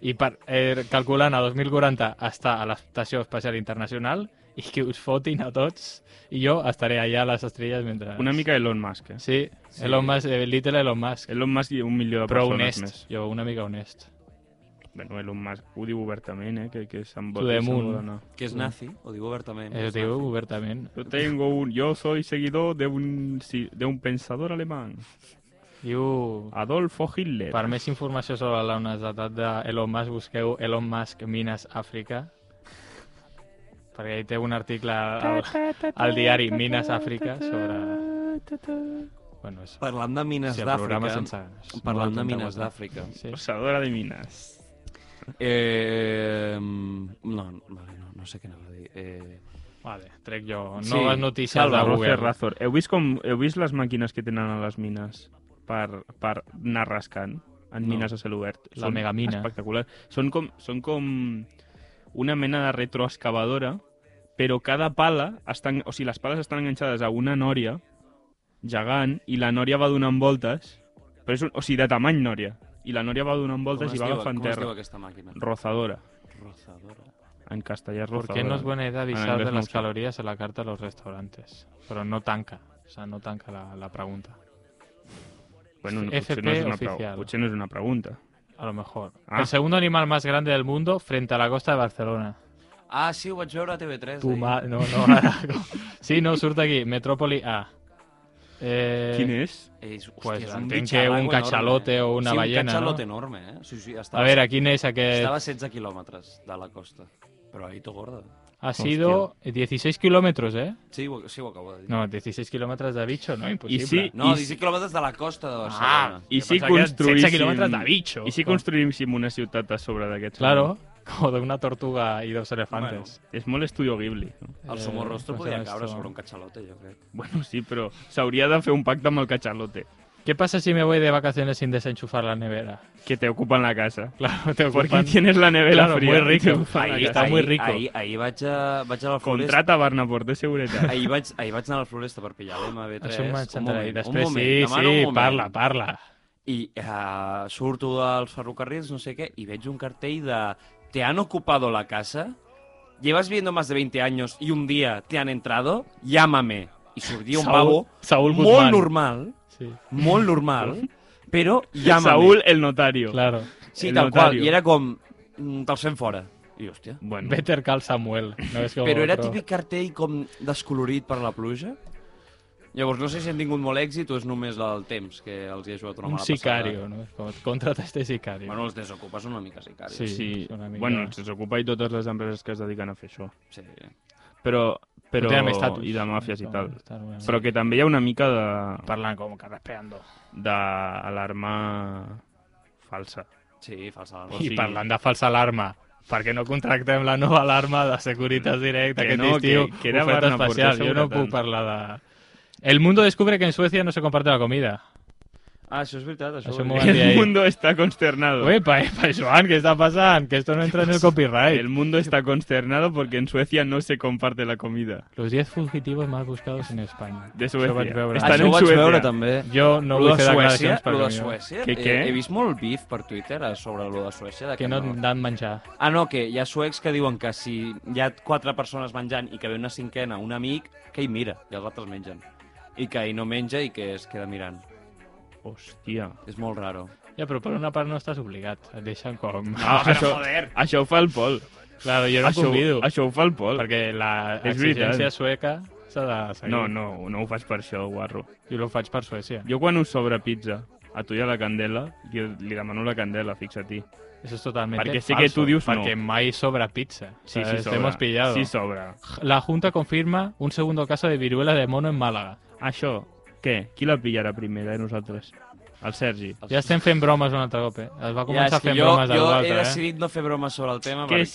Speaker 5: i per, eh, calculant a 2040 estar a l'Estació Espacial Internacional i que us fotin a tots i jo estaré allà a les estrelles mentre...
Speaker 4: Una mica Elon Musk, eh?
Speaker 5: Sí,
Speaker 3: Sí.
Speaker 5: Elon Musk, eh, Little Elon Musk.
Speaker 4: Elon Musk i un milió de
Speaker 5: Però
Speaker 4: persones
Speaker 5: honest,
Speaker 4: més.
Speaker 5: jo, una mica honest.
Speaker 4: Bueno, Elon Musk ho diu obertament, eh? Que, que se'n
Speaker 5: Tu
Speaker 4: vol,
Speaker 5: de
Speaker 4: que se'n
Speaker 5: munt.
Speaker 4: vol anar.
Speaker 3: Que és nazi, ho diu obertament.
Speaker 5: Eh, ho
Speaker 3: és
Speaker 5: diu
Speaker 3: nazi.
Speaker 5: obertament.
Speaker 4: Yo tengo un... Yo soy seguidor de un, sí, de un pensador alemán.
Speaker 5: Diu...
Speaker 4: Adolfo Hitler.
Speaker 5: Per més informació sobre la honestedat d'Elon Musk, busqueu Elon Musk Mines Àfrica. Perquè hi té un article al, al diari Mines Àfrica sobre... Bueno, és...
Speaker 3: Parlant de mines
Speaker 5: Sí, el programa
Speaker 3: d'Àfrica...
Speaker 5: sense...
Speaker 3: Parlant de
Speaker 5: no
Speaker 3: mines
Speaker 5: aguanta.
Speaker 3: d'Àfrica...
Speaker 5: Sí.
Speaker 4: Pensadora de minas.
Speaker 3: Eh, no, vale, no, no sé què anava a dir. Eh,
Speaker 5: Vale, trec jo
Speaker 3: Sí,
Speaker 5: noves notícies
Speaker 3: salva,
Speaker 5: de
Speaker 4: Salva,
Speaker 5: Google.
Speaker 4: Roger Razor. Heu vist, com, heu vist les màquines que tenen a les mines per, per anar rascant en
Speaker 3: No.
Speaker 4: mines a cel obert?
Speaker 5: La megamina.
Speaker 4: Espectacular. Són com, són com una mena de retroexcavadora, però cada pala, estan, o sigui, les pales estan enganxades a una nòria gegant i la nòria va donant voltes, però és un, o sigui, de tamany nòria, i la nòria va donant voltes
Speaker 3: com
Speaker 4: i va
Speaker 3: es diu-
Speaker 4: agafant
Speaker 3: Com es diu
Speaker 4: terra.
Speaker 3: aquesta màquina?
Speaker 4: Rozadora.
Speaker 3: Rozadora.
Speaker 4: En castellà és
Speaker 5: ¿Por
Speaker 4: rozadora.
Speaker 5: qué no es buena idea
Speaker 4: Ah,
Speaker 5: avisar
Speaker 4: en
Speaker 5: de
Speaker 4: inglés
Speaker 5: las
Speaker 4: no sé.
Speaker 5: calorías en la carta a los restaurantes? Pero no tanca, o sea, no tanca la, la pregunta.
Speaker 4: Bueno, no,
Speaker 5: FP
Speaker 4: potser, no és una pregu-
Speaker 5: oficial.
Speaker 4: potser no és una pregunta.
Speaker 5: A lo mejor.
Speaker 4: Ah.
Speaker 5: El segundo animal más grande del mundo frente a la costa de Barcelona.
Speaker 3: Ah, sí, ho vaig veure a TV3.
Speaker 5: Tu
Speaker 3: ahir.
Speaker 5: ma... No, no, ara... Sí, no, surt aquí. Metròpoli A. Eh,
Speaker 4: Quin és?
Speaker 3: És, hòstia,
Speaker 5: Pues
Speaker 3: és un
Speaker 5: entenc que
Speaker 3: bicharraco
Speaker 5: un cachalote
Speaker 3: enorme, eh?
Speaker 5: o una
Speaker 3: sí,
Speaker 5: ballena,
Speaker 3: un
Speaker 5: no?
Speaker 3: cachalote enorme, eh? Sí, sí, estava,
Speaker 5: A veure, quin és
Speaker 3: estava
Speaker 5: aquest?
Speaker 3: a 16 quilòmetres de la costa. Però ahí to gorda.
Speaker 5: Ha sido 16 quilòmetres, eh?
Speaker 3: Sí, ho, sí, ho acabo de dir.
Speaker 5: No, 16 quilòmetres de bitxo, no? Impossible.
Speaker 4: I si,
Speaker 3: no
Speaker 4: i
Speaker 3: 16 quilòmetres de la costa de
Speaker 5: Ah,
Speaker 3: Barcelona.
Speaker 4: I
Speaker 5: Jo
Speaker 4: si
Speaker 5: pensava que eren 16
Speaker 4: construïssim...
Speaker 5: quilòmetres de bitxo.
Speaker 4: I si
Speaker 5: Com?
Speaker 4: construïssim una ciutat a sobre d'aquests...
Speaker 5: Claro, com d'una tortuga i dos elefantes.
Speaker 4: És molt estudio Ghibli. No?
Speaker 3: el
Speaker 5: eh,
Speaker 3: somorrostro
Speaker 5: no sé,
Speaker 3: podria caure
Speaker 5: esto-
Speaker 3: sobre un cachalote, jo crec.
Speaker 4: Bueno, sí, però s'hauria de fer un pacte amb el cachalote,
Speaker 5: ¿Qué pasa si me voy de vacaciones sin desenchufar la nevera?
Speaker 4: que te ocupen la casa.
Speaker 5: Claro, te
Speaker 4: Porque
Speaker 5: ocupan...
Speaker 4: tienes la nevera
Speaker 5: Claro,
Speaker 4: fría.
Speaker 5: muy
Speaker 4: y te
Speaker 5: rico.
Speaker 4: ocupan la
Speaker 5: Ahí
Speaker 4: casa.
Speaker 5: está muy rico.
Speaker 3: Ahir, ahir vaig, a, vaig a la floresta.
Speaker 4: Contrata Barnaport de seguretat.
Speaker 3: Ahir vaig, ahir vaig anar a la floresta per pillar l'MB3.
Speaker 5: Això m'ha encentrarà. I
Speaker 3: moment,
Speaker 5: després,
Speaker 3: un moment,
Speaker 5: sí,
Speaker 3: demano un
Speaker 5: sí,
Speaker 3: moment.
Speaker 5: parla, parla.
Speaker 3: I uh, surto dels ferrocarrils, no sé què, i veig un cartell de ¿Te han ocupado la casa? ¿Llevas viendo más de 20 años y un día te han entrado? Llámame. I sortia un pavo
Speaker 5: Saúl
Speaker 3: molt
Speaker 5: Guzmán.
Speaker 3: normal,
Speaker 5: Sí,
Speaker 3: molt normal, però llámame.
Speaker 4: Saúl el notario.
Speaker 5: claro.
Speaker 3: sí,
Speaker 4: el
Speaker 3: tal qual.
Speaker 4: notario.
Speaker 3: I era com, "Mm, te'l fem fora. I jo, hòstia.
Speaker 4: Bueno,
Speaker 5: Better Call Samuel. No és com
Speaker 3: Però era
Speaker 5: otro.
Speaker 3: típic cartell com descolorit per la pluja. Llavors, no sé si han tingut molt èxit o és només el temps que els hi ha jugat una
Speaker 5: Un
Speaker 3: mala
Speaker 5: sicario,
Speaker 3: passada.
Speaker 5: no? És com, contrata este sicario.
Speaker 3: Bueno, els desocupes una mica sicaris.
Speaker 5: Sí.
Speaker 4: sí.
Speaker 5: és una mica-
Speaker 4: Bueno, se'ls ocupa i totes les empreses que es dediquen a fer això.
Speaker 3: sí.
Speaker 4: Però, però...
Speaker 5: tenen més estatus.
Speaker 4: I de màfies i tal.
Speaker 5: Tal, bueno,
Speaker 4: Però que també hi ha una mica de
Speaker 5: Parlant com que respeando.
Speaker 4: d'alarma falsa.
Speaker 3: Pues Sí, falsa
Speaker 5: I
Speaker 3: alarma.
Speaker 4: sigui-
Speaker 5: parlant de falsa alarma, per què no contractem la nova alarma de Securitas Directa
Speaker 4: Que
Speaker 5: aquest
Speaker 4: no,
Speaker 5: estiu?
Speaker 4: que- que era
Speaker 5: Oferta
Speaker 4: Barna, ¿por qué
Speaker 5: especial, jo no
Speaker 4: asegura tant?
Speaker 5: puc parlar de... El mundo descubre que en Suecia no se comparte la comida.
Speaker 3: Ah, això és veritat, això,
Speaker 5: Això
Speaker 3: ho
Speaker 5: m'ho
Speaker 3: he
Speaker 5: van dir
Speaker 3: dit.
Speaker 5: ahí.
Speaker 4: El mundo está consternado.
Speaker 5: Uepa, epa, eh, Joan, què està passant? Que esto no entra en el copyright.
Speaker 4: El mundo está consternado porque en Suecia no se comparte la comida.
Speaker 5: Los 10 fugitivos más buscados en España.
Speaker 4: De Suècia.
Speaker 5: Això vaig veure.
Speaker 4: Estan
Speaker 3: Això
Speaker 4: en
Speaker 3: ho vaig
Speaker 4: Suècia.
Speaker 3: veure també.
Speaker 5: Jo no
Speaker 3: Lo de
Speaker 5: vull fer
Speaker 3: Suècia,
Speaker 5: declaracions per
Speaker 3: lo de Suècia,
Speaker 4: Que
Speaker 3: eh,
Speaker 4: què?
Speaker 3: he vist molt bif per Twitter eh, sobre lo de Suècia. De
Speaker 5: que no et dan menjar.
Speaker 3: Ah, no, que hi ha suecs que diuen que si hi ha quatre persones menjant i que ve una cinquena, un amic, que hi mira, i els altres mengen. I que ell no menja i que es queda mirant.
Speaker 4: Hòstia.
Speaker 3: És molt raro.
Speaker 5: Ja, però per una part no estàs obligat. Et deixen com...
Speaker 4: Ah, això, això ho fa el Pol.
Speaker 5: Claro, jo no
Speaker 4: això,
Speaker 5: convido.
Speaker 4: això ho fa el Pol.
Speaker 5: Perquè la
Speaker 4: És veritat.
Speaker 5: exigència sueca s'ha de seguir.
Speaker 4: No, no, no ho fas per això, guarro.
Speaker 5: Jo ho faig per Suècia.
Speaker 4: Jo quan us sobra pizza, a tu i a la Candela, li, li demano la Candela, fixa-t'hi.
Speaker 5: Eso es totalmente
Speaker 4: Perquè sé
Speaker 5: falso,
Speaker 4: que tú dius no.
Speaker 5: Porque Mai sobra pizza.
Speaker 4: Sí, sí,
Speaker 5: ¿sabes? Te
Speaker 4: sobra.
Speaker 5: hemos pillado.
Speaker 4: Sí, sobra.
Speaker 5: La Junta confirma un segundo caso de viruela de mono en Málaga.
Speaker 4: Això, què? Qui la pillarà primer de nosaltres? El Sergi.
Speaker 5: Ja estem fent bromes un altre cop, eh? Es va començar
Speaker 3: és que
Speaker 5: fent
Speaker 3: jo,
Speaker 5: bromes de
Speaker 3: jo
Speaker 5: l'altre,
Speaker 3: he
Speaker 5: eh?
Speaker 3: decidit no fer bromes sobre el tema
Speaker 4: Què
Speaker 3: perquè...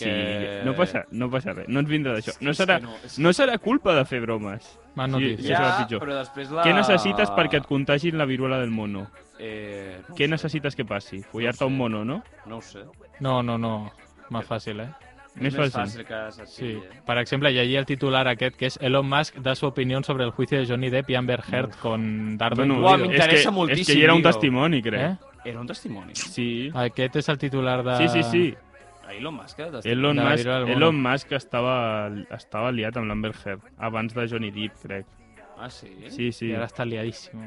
Speaker 4: sí? No passa, no passa res, no ens vindrà d'això.
Speaker 3: És que
Speaker 4: No serà,
Speaker 3: no, és que-
Speaker 4: no serà culpa de fer bromes.
Speaker 5: Más
Speaker 4: Sí,
Speaker 5: noticias.
Speaker 4: ja- això és el pitjor.
Speaker 3: però després la...
Speaker 4: Què necessites perquè et contagin la viruela del mono?
Speaker 3: Eh, no,
Speaker 4: Què necessites que passi? Follar-te un mono, no?
Speaker 3: no ho sé.
Speaker 5: No, no, no. Más fácil, eh?
Speaker 4: Més
Speaker 3: és més
Speaker 4: fàcil.
Speaker 3: fàcil que
Speaker 5: Sí.
Speaker 3: s'atiri, eh?
Speaker 5: Por ejemplo, y allí el titular aquest, que es Elon Musk da su opinión sobre el juicio de Johnny Depp y Amber Heard con Dardo
Speaker 3: Uah,
Speaker 5: incluido.
Speaker 3: m'interessa
Speaker 4: és que, és
Speaker 3: moltíssim,
Speaker 4: que hi era un
Speaker 3: tio.
Speaker 4: testimoni,
Speaker 5: Eh?
Speaker 4: crec.
Speaker 3: Era un testimoni.
Speaker 4: Sí.
Speaker 5: Aquest és el titular de...
Speaker 4: Sí, sí, sí.
Speaker 3: A Elon Musk, eh? testimoni.
Speaker 4: Elon
Speaker 5: De la
Speaker 4: Musk,
Speaker 5: viruela del mono.
Speaker 4: Elon Musk estava, estava liat amb l'Amber Heard abans de Johnny Depp, crec.
Speaker 3: Ah, sí?
Speaker 4: Sí, sí.
Speaker 5: Y ahora está liadísimo.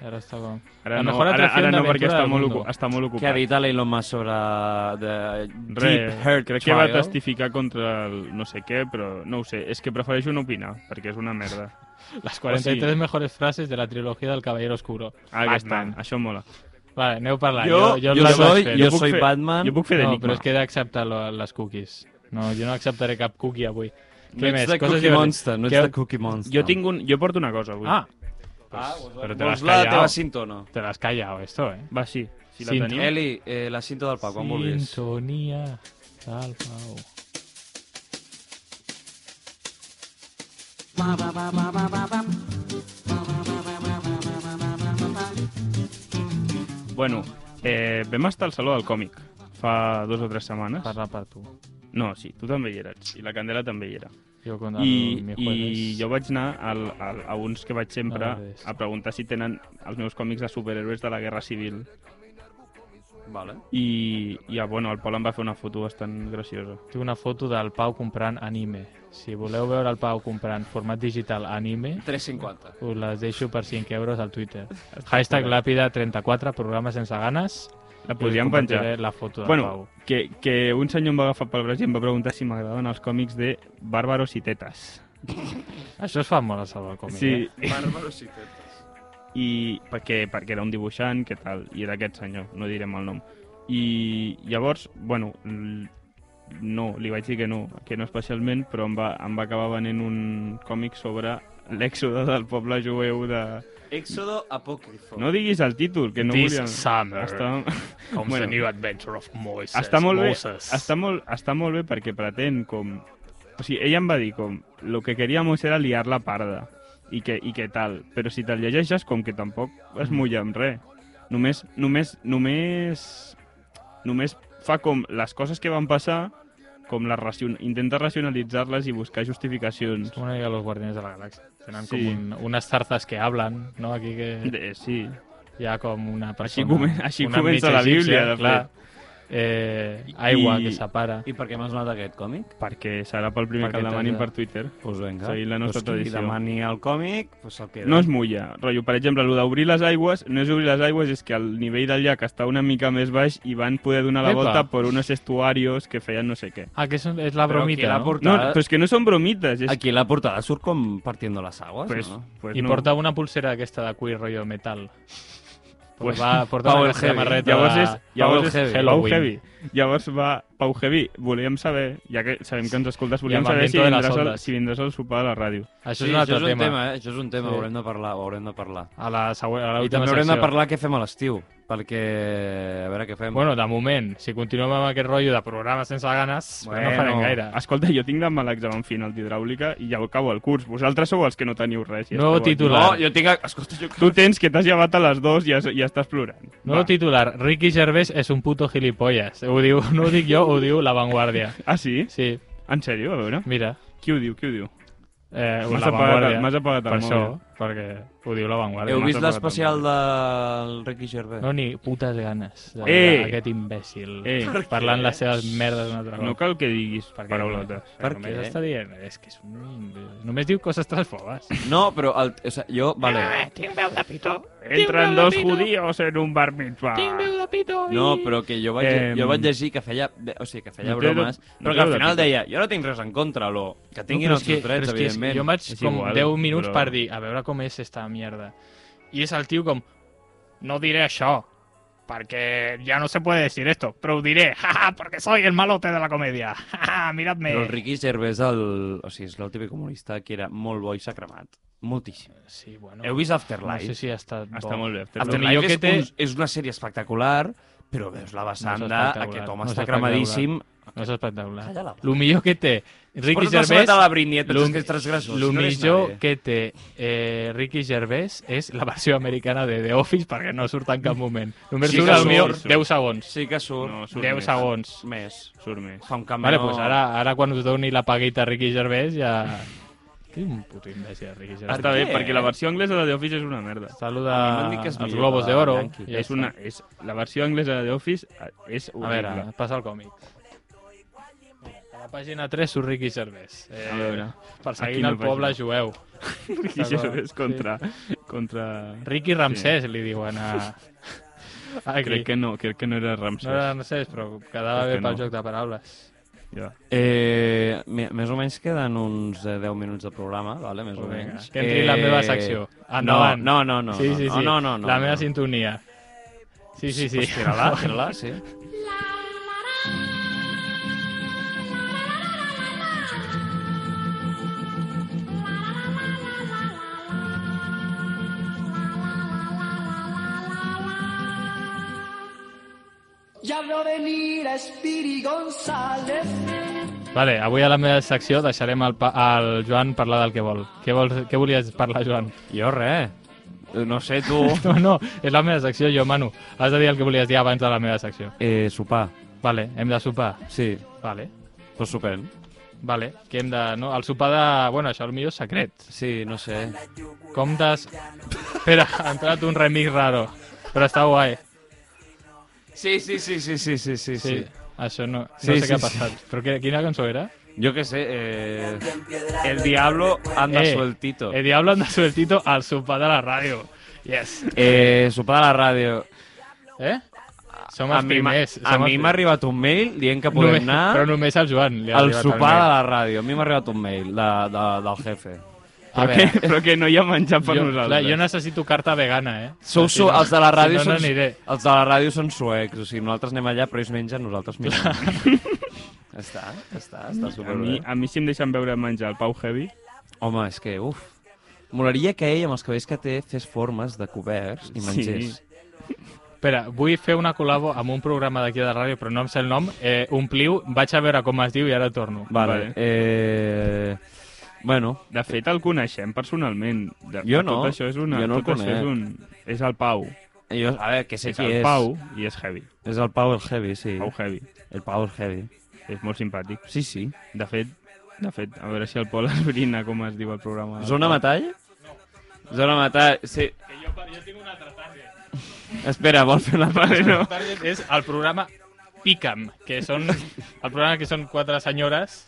Speaker 5: Y ahora está con...
Speaker 4: Ara
Speaker 5: la
Speaker 4: no,
Speaker 5: mejor
Speaker 4: ara,
Speaker 5: atracción de
Speaker 4: ara no perquè
Speaker 5: aventura
Speaker 4: està
Speaker 5: del
Speaker 4: molt,
Speaker 5: mundo.
Speaker 4: ocu- està molt ocupat.
Speaker 3: Què ha dit Elon Musk sobre eh, de
Speaker 4: Res,
Speaker 3: Deep Heart
Speaker 4: crec que va
Speaker 3: Trial?
Speaker 4: testificar contra el no sé què, però no ho sé. És que prefereixo no opinar, perquè és una merda.
Speaker 5: Las 43
Speaker 4: O sigui-
Speaker 5: mejores frases de la trilogía del Caballero Oscuro.
Speaker 4: Ah, Aquesta,
Speaker 5: Batman.
Speaker 4: això mola.
Speaker 5: Vale, aneu parlant.
Speaker 3: Jo- jo
Speaker 5: jo, les vaig
Speaker 3: soy-
Speaker 5: fent.
Speaker 3: jo
Speaker 4: puc
Speaker 3: soy
Speaker 4: fer-
Speaker 3: Batman.
Speaker 4: Jo puc fer
Speaker 5: no,
Speaker 4: d'enigma.
Speaker 5: però és que he d'acceptar lo- les cookies. No, jo no acceptaré cap cookie avui.
Speaker 3: No ets de
Speaker 5: Coses
Speaker 3: Cookie
Speaker 5: divertides.
Speaker 3: Monster, no ets
Speaker 5: Què-
Speaker 3: de Cookie Monster.
Speaker 4: Jo, tinc un, jo porto una cosa avui.
Speaker 5: Ah,
Speaker 3: Ah,
Speaker 5: però
Speaker 3: però
Speaker 5: te
Speaker 3: te
Speaker 5: l'has
Speaker 3: vols la
Speaker 5: callat.
Speaker 3: teva cinta o no?
Speaker 5: te l'has callado, esto, eh?
Speaker 4: Va, sí. Si la
Speaker 5: Cinta.
Speaker 4: teniu...
Speaker 3: Eli, eh, la cinta del Pau, quan vulguis.
Speaker 5: Sintonia del Pau.
Speaker 4: Bueno, eh, vam estar al Saló del Còmic fa dos o tres setmanes.
Speaker 5: Parla per tu.
Speaker 4: No, sí, tu també hi eres. I la Candela també hi era.
Speaker 5: Jo con
Speaker 4: I,
Speaker 5: el mi jueves...
Speaker 4: I jo vaig anar al, al, a uns que vaig sempre
Speaker 5: Valdés.
Speaker 4: a preguntar si tenen els meus còmics de superhéroes de la Guerra Civil.
Speaker 3: Vale.
Speaker 4: I, i ah, bueno, el Pol em va fer una foto bastant graciosa.
Speaker 5: Tinc una foto del Pau comprant anime. Si voleu veure el Pau comprant format digital anime,
Speaker 3: 3,50.
Speaker 5: us les deixo per 5 euros al Twitter. Hashtag làpida34, programa sense ganes.
Speaker 4: La
Speaker 5: i us
Speaker 4: podríem
Speaker 5: compartiré
Speaker 4: penjar.
Speaker 5: La foto del Pau.
Speaker 4: Bueno, que, que un senyor em va agafar pel braç i em va preguntar si m'agradaven els còmics de Bárbaros i Tetes.
Speaker 5: Això es fa molt a salvar com
Speaker 4: Sí,
Speaker 3: Bárbaros y tetas.
Speaker 4: i perquè, perquè era un dibuixant, què tal, i era aquest senyor, no direm el nom. I llavors, bueno, l- no, li vaig dir que no, que no especialment, però em va, em va acabar venent un còmic sobre l'èxode del poble jueu de...
Speaker 3: Éxodo apócrifo.
Speaker 4: No diguis el títol, que no
Speaker 5: This
Speaker 4: volia...
Speaker 5: summer.
Speaker 4: Està...
Speaker 5: Comes
Speaker 4: bueno. the new
Speaker 5: adventure of Moses.
Speaker 4: està molt bé, està molt, està molt bé perquè pretén com... O sigui, ella em va dir com, lo que queríamos era liar la parda i que, i que tal, però si te'l llegeixes com que tampoc es
Speaker 5: Mm.
Speaker 4: mulla amb res. Només, només, només, només fa com les coses que van passar, com les racion... intenta racionalitzar-les i buscar justificacions.
Speaker 5: Una mica los guardianes de la galaxia. Tenen
Speaker 4: Sí.
Speaker 5: com un, unes tarzas que hablan, no? Aquí que
Speaker 4: De, sí,
Speaker 5: hi ha com una persona...
Speaker 4: així, comen així
Speaker 5: una
Speaker 4: comença
Speaker 5: mitja
Speaker 4: la Bíblia, de
Speaker 5: clar.
Speaker 4: fet.
Speaker 5: Eh,
Speaker 4: I-
Speaker 5: aigua
Speaker 4: i-
Speaker 5: que separa.
Speaker 3: I per què m'has donat aquest còmic?
Speaker 4: Perquè serà pel primer
Speaker 5: Perquè
Speaker 4: que el
Speaker 5: t'has
Speaker 4: demanin
Speaker 5: de-
Speaker 4: per Twitter.
Speaker 3: Pues venga.
Speaker 4: Seguint la nostra
Speaker 3: pues qui
Speaker 4: tradició.
Speaker 3: demani el còmic, pues el queda.
Speaker 4: No es mulla. Rotllo, per exemple, el d'obrir les aigües, no és obrir les aigües, és que el nivell del llac està una mica més baix i van poder donar la
Speaker 5: Epa.
Speaker 4: volta per uns estuarios que feien no sé què.
Speaker 5: Ah, que és, un- és la
Speaker 3: Però qui
Speaker 5: bromita,
Speaker 3: l'ha
Speaker 5: no?
Speaker 3: portat?
Speaker 4: No, però és que no són bromites. És...
Speaker 3: Aquí la portada surt com partiendo las aguas,
Speaker 4: Pues,
Speaker 3: no?
Speaker 4: pues
Speaker 5: I
Speaker 4: no.
Speaker 5: porta una pulsera aquesta de cuir, rotllo metal. Pues,
Speaker 4: Pues,
Speaker 5: va, porta
Speaker 3: Pau
Speaker 5: una
Speaker 3: el heavy.
Speaker 5: samarreta...
Speaker 4: Llavors és, llavors
Speaker 5: Pau
Speaker 4: és
Speaker 5: heavy.
Speaker 4: Pau
Speaker 5: Halloween.
Speaker 4: Heavy. Llavors va Pau Heavy. Volíem saber, ja que sabem que ens escoltes, volíem
Speaker 5: amb
Speaker 4: saber si
Speaker 5: ambiente de les
Speaker 4: vindràs, al,
Speaker 5: ondes.
Speaker 4: si vindràs al sopar a la ràdio.
Speaker 3: Sí,
Speaker 5: Això és un altre
Speaker 3: això és un
Speaker 5: tema.
Speaker 3: tema, eh? Això és un tema,
Speaker 5: Sí.
Speaker 3: ho haurem de parlar, ho haurem de parlar.
Speaker 5: A la següent, a
Speaker 3: I
Speaker 5: l'última
Speaker 3: també haurem de
Speaker 5: secció.
Speaker 3: parlar què fem a l'estiu, perquè a veure què fem.
Speaker 5: Bueno, de moment, si continuem amb aquest rotllo de programes sense ganes, bueno, pues no
Speaker 3: Bueno.
Speaker 5: farem gaire.
Speaker 4: Eh, Escolta, jo tinc amb l'examen final d'hidràulica i ja ho acabo el curs. Vosaltres sou els que no teniu res. i
Speaker 5: Nuevo
Speaker 4: esteu aquí.
Speaker 5: titular.
Speaker 3: no, jo tinc... Escolta, jo...
Speaker 4: Tu tens que t'has llevat a les dues i, es, i estàs plorant.
Speaker 5: No
Speaker 4: Va.
Speaker 5: titular, Ricky Gervais és un puto gilipollas. Ho diu, no ho dic jo, ho diu La Vanguardia.
Speaker 4: Ah, sí?
Speaker 5: Sí,
Speaker 4: En sèrio? A veure.
Speaker 5: mira.
Speaker 4: Qui ho diu? Qui ho diu?
Speaker 5: Eh,
Speaker 4: M'has
Speaker 5: la
Speaker 4: apagat el-
Speaker 5: Vanguardia.
Speaker 4: m'has apagat el
Speaker 5: per això,
Speaker 4: mòbil.
Speaker 5: perquè ho diu La Vanguardia.
Speaker 3: Heu
Speaker 4: m'has
Speaker 3: vist
Speaker 4: apagat
Speaker 3: l'especial del Ricky Gervais?
Speaker 5: No ni putes ganes de
Speaker 4: Eh!
Speaker 5: veure aquest imbècil
Speaker 4: Eh! Per
Speaker 5: parlant les seves merdes un altre
Speaker 4: No
Speaker 5: cop.
Speaker 4: cal que diguis
Speaker 5: Perquè
Speaker 4: paraulotes. eh,
Speaker 5: només-
Speaker 3: Per
Speaker 5: només
Speaker 3: què?
Speaker 5: està dient... És que és un... imbècil. Només diu coses transfobes.
Speaker 3: No, però el, o sea, jo... Vale.
Speaker 4: Entren dos judíos en un bar mitzvah.
Speaker 3: No, però que jo vaig,
Speaker 4: Em.
Speaker 3: jo vaig llegir que feia... O sigui, que feia
Speaker 4: No té-
Speaker 3: bromes,
Speaker 4: no
Speaker 3: però
Speaker 4: té
Speaker 3: que al
Speaker 4: de
Speaker 3: final
Speaker 4: pica.
Speaker 3: deia jo no tinc res en contra, lo, que tinguin
Speaker 5: però
Speaker 3: els
Speaker 5: és que-
Speaker 3: seus drets,
Speaker 5: però és que és-
Speaker 3: evidentment.
Speaker 5: Jo em vaig
Speaker 4: És
Speaker 5: com
Speaker 4: igual,
Speaker 5: 10 minuts
Speaker 4: però-
Speaker 5: per dir, a veure com és esta mierda. I és el tio com, no diré això, perquè ya no se puede decir esto, pero ho diré, jaja, porque soy el malote de la comedia, jaja, miradme.
Speaker 3: Però el Ricky Gervais, el, o sigui, és l'últim comunista que era molt bo i s'ha cremat. Moltíssim.
Speaker 5: Sí, bueno,
Speaker 3: Heu vist
Speaker 5: no
Speaker 3: Afterlife?
Speaker 5: sé si ha estat bo.
Speaker 4: Està molt bé. Afterlife.
Speaker 5: Lo
Speaker 3: Afterlife
Speaker 5: millor
Speaker 3: és,
Speaker 5: que té...
Speaker 3: un, és una sèrie espectacular, però veus la vessant
Speaker 5: No és
Speaker 3: de
Speaker 5: espectacular,
Speaker 3: aquest home
Speaker 5: no és
Speaker 3: està
Speaker 5: espectacular.
Speaker 3: cremadíssim.
Speaker 5: No és espectacular.
Speaker 3: Calla la boca.
Speaker 5: Lo millor que té Ricky
Speaker 3: Porta Gervais,
Speaker 5: Gervais...
Speaker 3: la Britney,
Speaker 5: lo-
Speaker 3: lo, que és transgressor.
Speaker 5: Lo
Speaker 3: si no eres
Speaker 5: millor
Speaker 3: nadie.
Speaker 5: que té eh, Ricky Gervais és la versió americana de The Office perquè no surt en cap moment. Només
Speaker 3: Sí
Speaker 5: surt
Speaker 3: que
Speaker 5: al
Speaker 3: surt,
Speaker 5: millor
Speaker 4: surt.
Speaker 5: 10 segons.
Speaker 3: Sí que surt.
Speaker 4: No,
Speaker 3: No,
Speaker 4: surt
Speaker 5: 10
Speaker 4: més.
Speaker 5: segons.
Speaker 3: Més.
Speaker 4: Surt més.
Speaker 3: Fa un canvi.
Speaker 5: Vale,
Speaker 3: no...
Speaker 5: pues ara, ara quan us doni la paguita a Ricky Gervais ja... Que un puto imbècil, Ricky Gervais.
Speaker 4: Està bé,
Speaker 3: què?
Speaker 4: perquè la versió anglesa de The Office és una merda.
Speaker 5: Saluda
Speaker 3: A mi m'han dit que és
Speaker 5: els
Speaker 3: millor
Speaker 5: Globos
Speaker 3: que
Speaker 5: de Oro.
Speaker 3: Yankee.
Speaker 5: Ja
Speaker 4: és una,
Speaker 5: està.
Speaker 4: és, la versió anglesa de The Office eh, és
Speaker 5: A
Speaker 4: horrible.
Speaker 5: veure, passa el còmic. A la pàgina 3 surt Ricky Gervais. Eh,
Speaker 4: A veure.
Speaker 5: Perseguint
Speaker 4: Aquí no
Speaker 5: el poble
Speaker 4: pàgina.
Speaker 5: jueu.
Speaker 4: Ricky
Speaker 5: Està clar,
Speaker 4: Gervais
Speaker 5: sí.
Speaker 4: contra... contra...
Speaker 5: Ricky Ramsès, li diuen a... Aquí.
Speaker 4: Crec que no, crec que no era Ramsès.
Speaker 5: No era Ramsès, però quedava
Speaker 4: Crec
Speaker 5: bé
Speaker 4: que
Speaker 5: pel
Speaker 4: no.
Speaker 5: joc de paraules.
Speaker 4: Ja.
Speaker 3: Eh, me- més o menys queden uns eh, 10 minuts de programa, vale? més o
Speaker 5: Vinga,
Speaker 3: menys. Eh,
Speaker 5: Que entri la meva secció. Endavant.
Speaker 3: No, no, no. no
Speaker 5: sí, sí,
Speaker 3: no,
Speaker 5: sí.
Speaker 3: No, no, no,
Speaker 5: la
Speaker 3: no.
Speaker 5: meva sintonia. Sí, sí, sí.
Speaker 3: Pues tira-la, tira-la, sí.
Speaker 1: Ya veo venir a Spiri González.
Speaker 5: Vale, avui a la meva secció deixarem el, pa- el Joan parlar del que vol. Què, vols, què volies parlar, Joan?
Speaker 3: Jo res. No sé, tu.
Speaker 5: No, no, és la meva secció, jo, Manu. Has de dir el que volies dir abans de la meva secció.
Speaker 3: eh, sopar.
Speaker 5: Vale, hem de sopar.
Speaker 3: Sí,
Speaker 5: Vale,
Speaker 3: pues sopem.
Speaker 5: vale. Que hem de... No, el sopar de... Bueno, això millor és secret.
Speaker 3: Sí, no sé.
Speaker 5: Com des... Espera, ha entrat un remix raro. Però està guai.
Speaker 3: Sí, sí, sí, sí, sí, sí, sí.
Speaker 5: Sí,
Speaker 3: sí.
Speaker 5: això no, no
Speaker 3: Sí,
Speaker 5: sé què
Speaker 3: sí,
Speaker 5: ha passat. Però que, quina cançó era?
Speaker 3: Yo qué sé, eh, el diablo anda
Speaker 5: Eh,
Speaker 3: sueltito.
Speaker 5: El Diablo anda sueltito al sopar de la ràdio. Yes.
Speaker 3: Eh, sopa de la ràdio.
Speaker 5: Eh? Som
Speaker 3: A
Speaker 5: els
Speaker 3: mi, m'ha-
Speaker 5: primers.
Speaker 3: a
Speaker 5: som els
Speaker 3: mi m'ha arribat un mail dient que podem
Speaker 5: Només, però
Speaker 3: anar
Speaker 5: només al Joan li ha
Speaker 3: al
Speaker 5: arribat el
Speaker 3: sopar de
Speaker 5: mail.
Speaker 3: la ràdio. A mi m'ha arribat un mail de, de, del jefe.
Speaker 5: A
Speaker 4: Però,
Speaker 5: veure,
Speaker 4: que, però que no hi ha menjar per
Speaker 5: jo,
Speaker 4: nosaltres.
Speaker 5: clar, jo necessito carta vegana, eh?
Speaker 3: Sou,
Speaker 5: Si
Speaker 3: su,
Speaker 5: no-
Speaker 3: els de la ràdio
Speaker 5: si no,
Speaker 3: són,
Speaker 5: no aniré.
Speaker 3: els de la ràdio són suecs, o sigui, nosaltres anem allà, però ells mengen, nosaltres mirem. està, està, està
Speaker 4: A
Speaker 3: superbé.
Speaker 4: mi,
Speaker 5: eh?
Speaker 4: a mi si em deixen veure menjar el Pau Heavy,
Speaker 3: Home, és que, uf. Molaria que ell, amb els cabells que té, fes formes de coberts i
Speaker 4: Sí.
Speaker 3: mengés.
Speaker 5: Espera, vull fer una col·labo amb un programa d'aquí de la ràdio, però no em sé el nom. Eh, ompliu, vaig a veure com es diu i ara torno.
Speaker 3: Vale.
Speaker 4: Vale.
Speaker 3: Eh... Bueno,
Speaker 4: de fet el coneixem personalment. De,
Speaker 3: Jo no,
Speaker 4: Tot això és una,
Speaker 3: jo no el
Speaker 4: tot això
Speaker 3: conec.
Speaker 4: és, un, és el Pau.
Speaker 3: Jo, a veure, que sé
Speaker 4: és
Speaker 3: qui
Speaker 4: el
Speaker 3: és.
Speaker 4: Pau i és Heavy.
Speaker 3: És el Pau el Heavy, sí.
Speaker 4: Pau Heavy.
Speaker 3: El Pau el Heavy.
Speaker 4: És molt simpàtic.
Speaker 3: Sí, sí.
Speaker 4: De fet, de fet, a veure si el Pol esbrina com es diu el programa. del
Speaker 3: Zona
Speaker 4: Pau.
Speaker 3: Metall? Zona Metall, sí. Espera, vol fer una part? No.
Speaker 5: Target és el programa Picam, que són el programa que són quatre senyores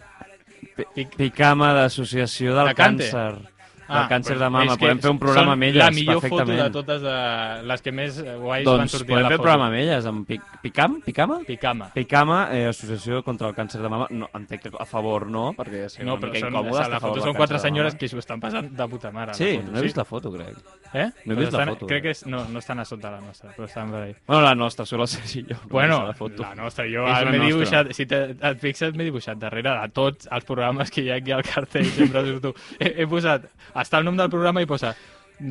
Speaker 3: Picama d'Associació del
Speaker 5: Tacante.
Speaker 3: Càncer. del càncer de mama.
Speaker 5: Ah, És que
Speaker 3: Podem fer un programa
Speaker 5: són
Speaker 3: amb elles,
Speaker 5: La millor
Speaker 3: perfectament.
Speaker 5: foto de totes eh, les que més eh, guais van
Speaker 3: Doncs
Speaker 5: sortir a
Speaker 3: podem
Speaker 5: la
Speaker 3: fer
Speaker 5: foto.
Speaker 3: el programa amb elles, amb Pic Picam? Picama?
Speaker 5: Picama.
Speaker 3: Picama, eh, Associació contra el Càncer de Mama. No, entenc que a favor no, perquè és
Speaker 5: No,
Speaker 3: una
Speaker 5: però
Speaker 3: mica
Speaker 5: són,
Speaker 3: incòmode.
Speaker 5: a la foto són quatre senyores que s'ho estan passant de puta mare. a la
Speaker 3: Sí,
Speaker 5: foto,
Speaker 3: no he vist la foto, crec. no he
Speaker 5: Eh? Doncs
Speaker 3: vist la
Speaker 5: estan,
Speaker 3: foto.
Speaker 5: Crec que és, no, no estan a sota la nostra, però estan per ahí.
Speaker 3: Bueno, la nostra, sóc la Sergi i jo. no
Speaker 4: Doncs
Speaker 5: bueno,
Speaker 3: he vist la foto.
Speaker 5: la nostra, jo
Speaker 4: És la
Speaker 5: m'he
Speaker 4: nostra.
Speaker 5: dibuixat, si te, et fixes, m'he dibuixat darrere de tots els programes que hi ha aquí al cartell, sempre surto. He, he posat, està el nom del programa i posa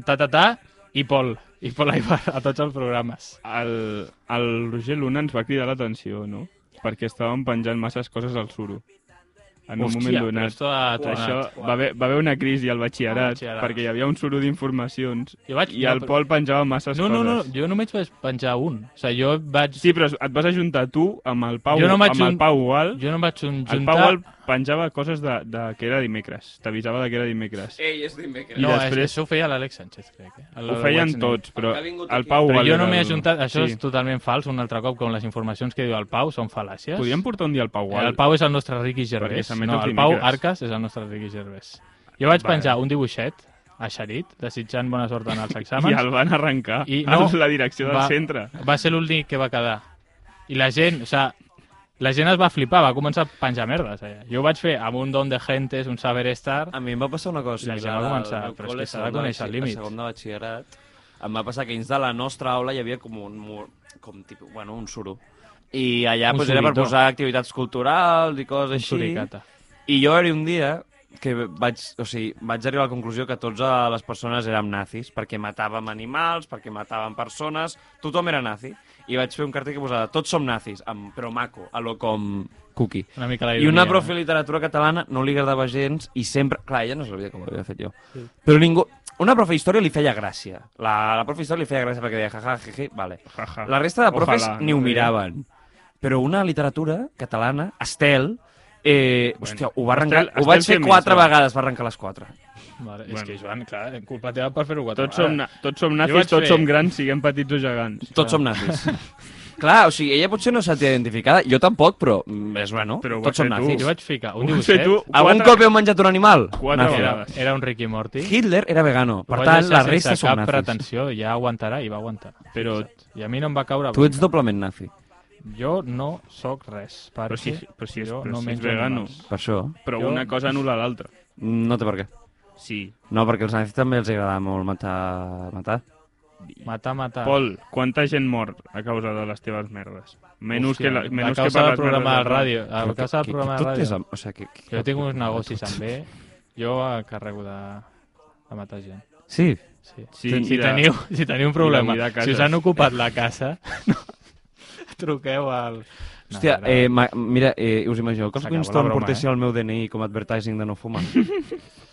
Speaker 5: ta-ta-ta i Pol, i Pol Aibar, a tots els programes.
Speaker 4: El, el Roger Luna ens va cridar l'atenció, no? Perquè estàvem penjant masses coses al suro. En un moment
Speaker 5: però
Speaker 4: donat.
Speaker 5: esto ha
Speaker 4: Per
Speaker 5: tornat.
Speaker 4: això va haver, va haver una crisi al
Speaker 5: Al
Speaker 4: batxillerat,
Speaker 5: batxillerat.
Speaker 4: perquè hi havia un suro d'informacions
Speaker 5: Jo vaig-
Speaker 4: i
Speaker 5: no,
Speaker 4: el
Speaker 5: però-
Speaker 4: Pol penjava masses
Speaker 5: No, no,
Speaker 4: coses.
Speaker 5: no, jo només vaig penjar un. O sigui, jo vaig...
Speaker 4: Sí, però et vas ajuntar tu amb el Pau,
Speaker 5: Jo no em vaig
Speaker 4: amb el
Speaker 5: jun-
Speaker 4: Pau Gual.
Speaker 5: Jo no em vaig juntar...
Speaker 4: El Pau Gual penjava coses de, de que era dimecres. T'avisava de que era dimecres.
Speaker 3: Ei, és dimecres.
Speaker 4: I
Speaker 5: No,
Speaker 4: després-
Speaker 5: després... això ho feia l'Àlex Sánchez, crec. Eh? El-
Speaker 4: Ho
Speaker 5: el
Speaker 4: feien
Speaker 5: What's Name.
Speaker 4: tots,
Speaker 3: Eh,
Speaker 4: però
Speaker 3: El que ha vingut
Speaker 4: el
Speaker 3: aquí.
Speaker 4: Pau
Speaker 5: Però
Speaker 4: Gual
Speaker 5: jo
Speaker 4: era
Speaker 5: no m'he
Speaker 4: el-
Speaker 5: ajuntat... Això
Speaker 4: Sí.
Speaker 5: és totalment fals, un altre cop, com les informacions que diu el Pau són fal·làcies.
Speaker 4: Podíem portar un dia el Pau Gual.
Speaker 5: Eh, El Pau és el nostre Ricky
Speaker 4: Perquè
Speaker 5: Gervais.
Speaker 4: s'emet
Speaker 5: No,
Speaker 4: els
Speaker 5: el Pau
Speaker 4: dimecres.
Speaker 5: Arcas és el nostre Ricky Gervais. Jo vaig
Speaker 4: Vale.
Speaker 5: penjar un dibuixet a Xerit, desitjant bona sort en els
Speaker 4: I
Speaker 5: exàmens.
Speaker 4: el van arrencar
Speaker 5: I
Speaker 4: no,
Speaker 5: no,
Speaker 4: a la direcció del
Speaker 5: va-
Speaker 4: centre.
Speaker 5: Va ser l'únic que va quedar. I la gent, o sigui, la gent es va flipar, va començar a penjar merdes. Allà. Jo ho vaig fer amb un don de gentes, un saber estar...
Speaker 3: A mi em va passar una cosa
Speaker 5: La gent
Speaker 3: similar.
Speaker 5: va
Speaker 3: al
Speaker 5: començar,
Speaker 3: meu
Speaker 5: però és
Speaker 3: col·le,
Speaker 5: que s'ha de
Speaker 3: segon
Speaker 5: conèixer el
Speaker 3: batxi-
Speaker 5: límit.
Speaker 3: Segon de batxillerat, em va passar que dins de la nostra aula hi havia com un mur, com tipus, bueno, un suro. I allà
Speaker 5: Un
Speaker 3: pues, era per
Speaker 5: surito.
Speaker 3: posar activitats culturals i coses
Speaker 5: Un
Speaker 3: així.
Speaker 5: suricata.
Speaker 3: I jo era un dia que vaig, o sigui, vaig arribar a la conclusió que totes les persones érem nazis, perquè matàvem animals, perquè matàvem persones, tothom era nazi. I vaig fer un cartell que posava tots som nazis, amb, però maco, a lo com cookie.
Speaker 5: Una mica
Speaker 3: I
Speaker 5: la ironia, eh.
Speaker 3: una
Speaker 5: no?
Speaker 3: profe de literatura catalana no li agradava gens i sempre... Clar, ella no sabia com ho havia fet jo. Però ningú... Una profe d'història li feia gràcia. La, la profe d'història li feia gràcia perquè deia jaja, jeje, vale.
Speaker 4: Ja, ja.
Speaker 3: La resta de profes
Speaker 4: Ah, Ojalà,
Speaker 3: ni ho
Speaker 4: no?
Speaker 3: miraven. Però una literatura catalana, Estel, eh, hòstia, ho, va arrencar,
Speaker 4: Estel-
Speaker 3: ho vaig
Speaker 4: Estel
Speaker 3: fer
Speaker 4: Femis,
Speaker 3: quatre
Speaker 4: va.
Speaker 3: vegades, va arrencar les quatre.
Speaker 5: Vale, és
Speaker 4: Bueno.
Speaker 5: que, Joan, clar, culpa teva per fer-ho quatre
Speaker 4: Tots som,
Speaker 5: vegades.
Speaker 4: na- tots som
Speaker 5: Jo vaig
Speaker 4: nazis, tots
Speaker 5: fer-
Speaker 4: som grans, siguem petits o gegants.
Speaker 3: Tots som nazis. Clar, o sigui, ella potser no s'ha identificada, jo tampoc, però mm, és bueno,
Speaker 4: Però ho
Speaker 3: tots som
Speaker 4: has fet tu.
Speaker 3: nazis.
Speaker 5: Jo vaig ficar un
Speaker 4: Ho has fet
Speaker 5: dibuixet...
Speaker 4: tu
Speaker 3: Algun
Speaker 4: quatre-
Speaker 3: cop heu menjat un animal?
Speaker 4: Quatre
Speaker 3: Nazi.
Speaker 5: Era,
Speaker 4: vegades.
Speaker 5: era un Ricky Morty.
Speaker 3: Hitler era vegano, per
Speaker 5: Ho vaig
Speaker 3: tant,
Speaker 5: deixar
Speaker 3: la resta
Speaker 5: sense
Speaker 3: són
Speaker 5: cap
Speaker 3: nazis.
Speaker 5: pretensió, ja aguantarà i va aguantar.
Speaker 4: Però-
Speaker 5: Fixa't. I a mi no em va caure
Speaker 3: Tu ets
Speaker 5: bona.
Speaker 3: doblement nazi,
Speaker 5: Jo no sóc res, perquè
Speaker 4: Però si, però si, és,
Speaker 5: jo
Speaker 4: però
Speaker 5: no
Speaker 4: si és
Speaker 5: menjo
Speaker 4: vegano.
Speaker 5: animals.
Speaker 3: per això.
Speaker 4: Però
Speaker 5: Jo-
Speaker 4: una cosa anul·la l'altra.
Speaker 3: No té per què.
Speaker 4: Sí.
Speaker 3: No, perquè els nazis també els agrada molt matar... matar.
Speaker 5: Matar, matar.
Speaker 4: Pol, quanta gent mor a causa de les teves merdes? Menys
Speaker 5: Hòstia,
Speaker 4: que, la, menys
Speaker 5: a
Speaker 4: que
Speaker 5: causa
Speaker 4: per
Speaker 5: del
Speaker 4: les merdes
Speaker 5: programa de
Speaker 4: del Pol.
Speaker 5: ràdio. A
Speaker 3: Però
Speaker 5: causa Ah, del
Speaker 3: que-
Speaker 5: programa
Speaker 3: que
Speaker 5: de
Speaker 3: tot és
Speaker 5: ràdio.
Speaker 3: amb- O sigui, que, que...
Speaker 5: Jo tinc uns negocis també. Jo encarrego de, de matar gent.
Speaker 3: Sí,
Speaker 5: Sí.
Speaker 4: Sí,
Speaker 5: si, si,
Speaker 4: i de-
Speaker 5: teniu, si teniu un problema,
Speaker 4: i de cases.
Speaker 5: si us han ocupat la casa, no, truqueu al... No,
Speaker 3: hòstia,
Speaker 5: era-
Speaker 3: eh, ma, mira, eh, us imagineu que els
Speaker 5: S'acabó la
Speaker 3: Winston
Speaker 5: broma,
Speaker 3: portessin
Speaker 5: eh?
Speaker 3: el meu DNI com a advertising de no fumar?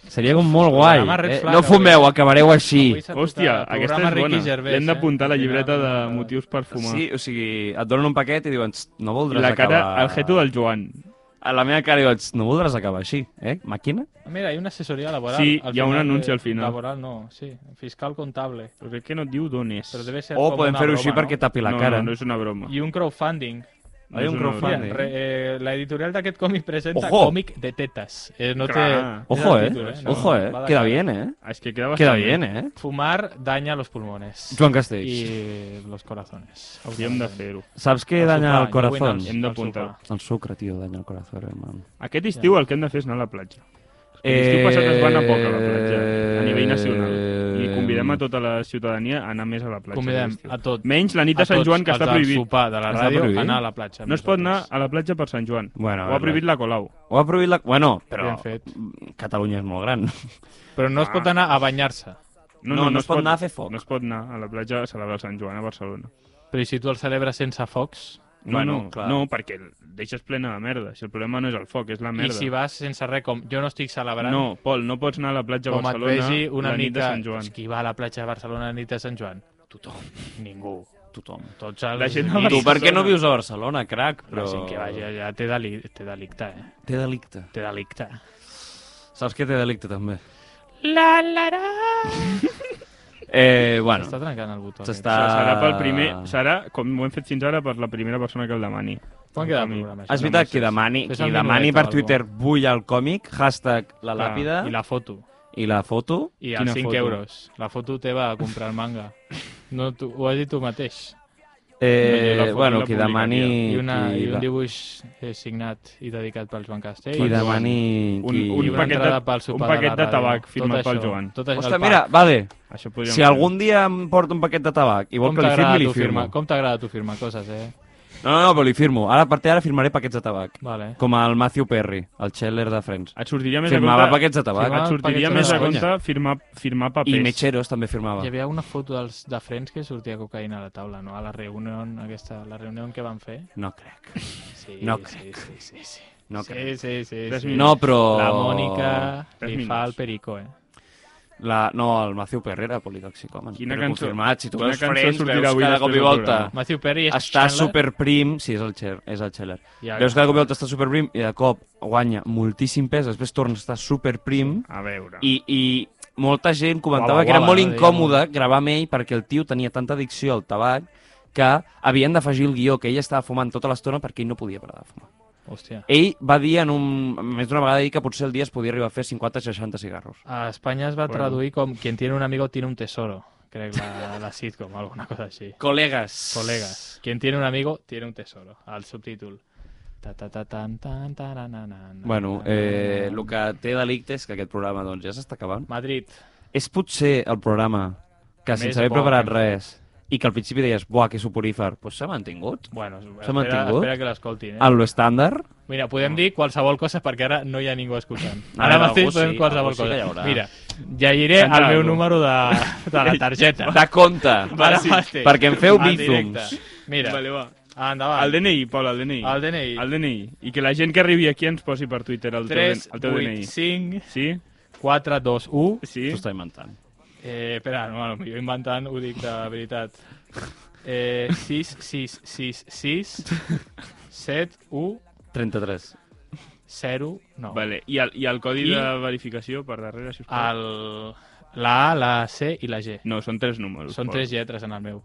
Speaker 3: Seria com molt guai.
Speaker 5: Programa Red
Speaker 3: Eh?
Speaker 5: Flag,
Speaker 3: No fumeu,
Speaker 5: avui.
Speaker 3: acabareu així.
Speaker 5: Avui s'ha tocat
Speaker 4: Hòstia,
Speaker 5: el
Speaker 4: aquesta
Speaker 5: programa
Speaker 4: és
Speaker 5: Ricky
Speaker 4: bona.
Speaker 5: Gervais,
Speaker 4: L'hem d'apuntar a la
Speaker 5: eh?
Speaker 4: llibreta de
Speaker 5: Final,
Speaker 4: motius per fumar.
Speaker 3: Sí, o sigui, et donen un paquet i diuen, "Txt, no voldràs
Speaker 4: la cara,
Speaker 3: acabar...
Speaker 4: el geto del Joan.
Speaker 3: A la meva cara diuen, "Txt, no voldràs acabar així, eh? Màquina?
Speaker 5: Ah, Mira, hi ha una assessoria laboral.
Speaker 4: Sí,
Speaker 5: al
Speaker 4: hi ha un
Speaker 5: final
Speaker 4: anunci
Speaker 5: de-
Speaker 4: al final.
Speaker 5: Laboral no, sí. Fiscal comptable.
Speaker 4: Però crec que no et diu d'on és.
Speaker 5: Però deve ser
Speaker 3: O
Speaker 5: com
Speaker 3: podem
Speaker 5: una
Speaker 3: fer-ho
Speaker 5: broma,
Speaker 3: així perquè
Speaker 5: no?
Speaker 3: tapi la
Speaker 4: no,
Speaker 3: cara.
Speaker 4: No, no és una broma.
Speaker 5: I un crowdfunding.
Speaker 3: Hay un crowdfunding.
Speaker 5: Mira, re, eh, la editorial d'aquest còmic presenta
Speaker 3: Ojo!
Speaker 5: còmic de tetes. Eh, no té...
Speaker 4: Clar.
Speaker 3: Ojo,
Speaker 5: és el
Speaker 3: eh?
Speaker 5: títol, no?
Speaker 3: Ojo, eh?
Speaker 5: Va de
Speaker 3: Queda
Speaker 5: cara.
Speaker 3: bien, eh?
Speaker 4: Ah, És que queda bastant
Speaker 3: Queda
Speaker 4: bé.
Speaker 3: bien, eh?
Speaker 5: Fumar daña los pulmones.
Speaker 3: Joan Castells.
Speaker 5: I los corazones.
Speaker 4: Hauríem de fer-ho.
Speaker 3: Saps què danya el corazón?
Speaker 4: Hem d'apuntar.
Speaker 3: El sucre, tio, danya el corazón, eh, hermano.
Speaker 4: Aquest estiu el que hem de fer és anar a la platja.
Speaker 3: Eh,
Speaker 4: L'estiu passat es va anar poc a la platja, a nivell nacional. I convidem a tota la ciutadania a anar més a la platja.
Speaker 5: Convidem
Speaker 4: aquest estiu.
Speaker 5: a tot.
Speaker 4: Menys la nit de Sant Joan, que està prohibit.
Speaker 5: sopar de la
Speaker 3: Està
Speaker 5: ràdio,
Speaker 3: prohibit?
Speaker 5: anar a la platja. amb
Speaker 4: No es pot anar
Speaker 5: nosaltres.
Speaker 4: a la platja per Sant Joan.
Speaker 3: Bueno,
Speaker 4: Ho ha prohibit la Colau.
Speaker 3: Ho ha prohibit la... Bueno, però
Speaker 5: Ben fet.
Speaker 3: Catalunya és molt gran.
Speaker 5: Però no es
Speaker 3: Ah.
Speaker 5: pot anar a banyar-se.
Speaker 3: No, no es pot anar a fer foc.
Speaker 4: No es pot anar a la platja a celebrar Sant Joan a Barcelona.
Speaker 5: Però i si tu el celebres sense focs?
Speaker 4: No,
Speaker 3: Bueno,
Speaker 4: no,
Speaker 3: clar.
Speaker 4: no, perquè el deixes plena de merda. Si el problema no és el foc, és la
Speaker 5: I
Speaker 4: merda.
Speaker 5: si vas sense res com jo no estic celebrant,
Speaker 4: No, Pol, no pots anar a la platja a
Speaker 5: com et
Speaker 4: Barcelona
Speaker 5: vegi un
Speaker 4: la nit
Speaker 5: amic
Speaker 4: de
Speaker 5: que,
Speaker 4: Sant Joan.
Speaker 5: pues, qui va a la platja de Barcelona la nit de Sant Joan? Tothom. Ningú. Tothom. Tots els...
Speaker 4: La gent de
Speaker 5: amics.
Speaker 3: Tu per què no
Speaker 4: Barcelona.
Speaker 3: vius a Barcelona, crac? Però...
Speaker 5: La gent que vagi allà té, deli... té delicte, eh?
Speaker 3: Té delicte.
Speaker 5: Té delicte.
Speaker 3: Saps què té delicte, també?
Speaker 5: La, la, la...
Speaker 3: Eh, bueno,
Speaker 5: S'està trencant el botó.
Speaker 3: S'està-
Speaker 4: Això serà pel primer...
Speaker 3: Ah.
Speaker 4: Serà, com ho hem fet fins ara, per la primera persona que el demani.
Speaker 5: aquest. Quan queda el
Speaker 4: Com a mi.
Speaker 5: programa? això?
Speaker 3: és veritat, qui demani,
Speaker 5: Fes
Speaker 3: qui
Speaker 5: el
Speaker 3: demani
Speaker 5: minutet o
Speaker 3: per
Speaker 5: algo.
Speaker 3: Twitter vull el còmic, hashtag la
Speaker 4: Clar,
Speaker 3: làpida,
Speaker 5: I la foto.
Speaker 3: I la foto?
Speaker 5: I
Speaker 4: Quina
Speaker 5: els 5
Speaker 4: foto?
Speaker 5: euros. La foto teva a comprar el manga. No, tu, ho has dit tu mateix.
Speaker 3: Eh,
Speaker 4: No, jo la foto
Speaker 3: bueno,
Speaker 4: la
Speaker 3: qui
Speaker 4: publicaria.
Speaker 3: demani...
Speaker 5: I, una,
Speaker 3: qui
Speaker 5: i un
Speaker 3: la-
Speaker 5: dibuix eh, signat i dedicat pels Joan Castell.
Speaker 3: Qui
Speaker 5: Joan
Speaker 3: demani...
Speaker 4: Un-
Speaker 3: qui-
Speaker 5: I
Speaker 4: un
Speaker 5: una
Speaker 4: paquet de-
Speaker 5: entrada pel sopar
Speaker 4: un
Speaker 5: de la
Speaker 4: paquet de
Speaker 5: ràdio.
Speaker 4: tabac
Speaker 5: Tot
Speaker 4: firmat pel
Speaker 5: això,
Speaker 4: Joan.
Speaker 5: Tot això,
Speaker 3: Hosta,
Speaker 5: el pack.
Speaker 3: mira, vale.
Speaker 4: Això podríem...
Speaker 3: Si algun dia em porta un paquet de tabac i vol
Speaker 5: com
Speaker 3: que li
Speaker 5: t'agrada
Speaker 3: firmi, li
Speaker 5: tu
Speaker 3: firmo.
Speaker 5: firmar- Com t'agrada tu firmar coses, eh?
Speaker 3: No, no, no, però li firmo. Ara, a partir d'ara, firmaré paquets de tabac.
Speaker 5: Vale.
Speaker 3: Com el Matthew Perry, el Scheller de Friends.
Speaker 4: Et sortiria més
Speaker 3: Firmava
Speaker 4: a compte...
Speaker 3: paquets de tabac.
Speaker 5: Firmava
Speaker 4: Et sortiria
Speaker 5: paquets
Speaker 4: més
Speaker 5: de
Speaker 4: a
Speaker 5: tabac.
Speaker 4: compte firmar, firmar papers.
Speaker 3: I Mecheros també firmava.
Speaker 5: Hi havia una foto dels de Friends que sortia cocaïna a la taula, no? A la reunió, aquesta, la reunió que van fer.
Speaker 3: No crec.
Speaker 5: Sí,
Speaker 3: No
Speaker 5: sí, sí, sí, sí.
Speaker 3: No
Speaker 5: sí,
Speaker 3: crec.
Speaker 5: sí, sí,
Speaker 4: Tres
Speaker 5: sí.
Speaker 4: minuts.
Speaker 3: No, però...
Speaker 5: La Mònica
Speaker 4: Tres
Speaker 5: li
Speaker 4: minuts.
Speaker 5: fa el perico, eh?
Speaker 3: La... No, el Matthew Perry era politoxicòman.
Speaker 4: Quina
Speaker 3: Però
Speaker 4: cançó-
Speaker 3: Confirmat. Si tu
Speaker 4: quina
Speaker 3: veus
Speaker 4: cançó
Speaker 3: Friends,
Speaker 4: sortirà
Speaker 3: veus
Speaker 4: avui
Speaker 3: cada
Speaker 4: després
Speaker 3: cop i
Speaker 4: del
Speaker 3: volta.
Speaker 4: programa?
Speaker 5: Matthew Perry és
Speaker 3: Està
Speaker 5: Chandler.
Speaker 3: superprim, sí, és el, Cher, és el Scheller.
Speaker 5: Ja,
Speaker 3: Veus que cada cop i volta està superprim i de cop guanya moltíssim pes, després torna a estar superprim
Speaker 4: A veure...
Speaker 3: i, i molta gent comentava
Speaker 5: Guava,
Speaker 3: que era
Speaker 5: guava,
Speaker 3: molt
Speaker 5: no?
Speaker 3: incòmode gravar amb ell perquè el tio tenia tanta addicció al tabac que havien d'afegir el guió que ell estava fumant tota l'estona perquè ell no podia parar de fumar.
Speaker 5: Hòstia.
Speaker 3: Ell va dir en un... més d'una vegada dir que potser el dia es podia arribar a fer 50-60 cigarros.
Speaker 5: A Espanya es va
Speaker 4: Bueno.
Speaker 5: traduir com Quien tiene un amigo tiene un tesoro. Crec la, la sitcom, alguna cosa així.
Speaker 3: Col·legues.
Speaker 5: Colegas. Quien tiene un amigo tiene un tesoro. Al subtítol. Ta, ta, ta, tan, tan, tarananan,
Speaker 3: Bueno,
Speaker 5: nan,
Speaker 3: eh, el
Speaker 5: nan,
Speaker 3: que té delicte és que aquest programa doncs, ja s'està acabant.
Speaker 5: nan. Madrid.
Speaker 3: És potser el programa que
Speaker 5: Més
Speaker 3: sense haver
Speaker 5: bo
Speaker 3: preparat
Speaker 5: que hem
Speaker 3: res i que al principi deies, buah, que suporífer, doncs pues s'ha mantingut.
Speaker 5: Bueno, espera,
Speaker 3: mantingut?
Speaker 5: espera que l'escoltin, eh?
Speaker 3: A lo estàndard,
Speaker 5: Mira, podem dir qualsevol cosa perquè ara no hi ha ningú escoltant.
Speaker 3: A
Speaker 5: Ara
Speaker 3: veure, algú
Speaker 5: mateix
Speaker 3: Ah, pues sí,
Speaker 5: podem qualsevol
Speaker 3: algú sí que hi
Speaker 5: cosa.
Speaker 3: haurà.
Speaker 5: Mira, llegiré
Speaker 4: Entra
Speaker 5: el meu
Speaker 4: algú.
Speaker 5: número de, de la targeta.
Speaker 3: de compte,
Speaker 5: Ara mateix.
Speaker 3: perquè em feu
Speaker 5: En directe.
Speaker 3: bízums.
Speaker 5: Mira,
Speaker 4: Vale, va.
Speaker 5: endavant.
Speaker 4: El DNI, Pol, el DNI.
Speaker 5: El DNI.
Speaker 4: El DNI. I que la gent que arribi aquí ens posi per Twitter el,
Speaker 5: 3,
Speaker 4: teu, el teu
Speaker 5: 8,
Speaker 4: DNI.
Speaker 5: 5,
Speaker 4: Sí?
Speaker 5: 4, 2, 1.
Speaker 4: Sí?
Speaker 3: T'ho està inventant.
Speaker 5: Eh, espera, no, bueno, jo inventant ho dic de veritat. Eh, 6, 6, 6, 6, 7, 1,
Speaker 3: 33.
Speaker 5: 0, 9.
Speaker 4: Vale. I el, I el codi
Speaker 5: I-
Speaker 4: de verificació per darrere, si us plau?
Speaker 5: El, la A, la C i la G.
Speaker 4: No, són tres números.
Speaker 5: Són
Speaker 4: Pol.
Speaker 5: tres lletres en el meu.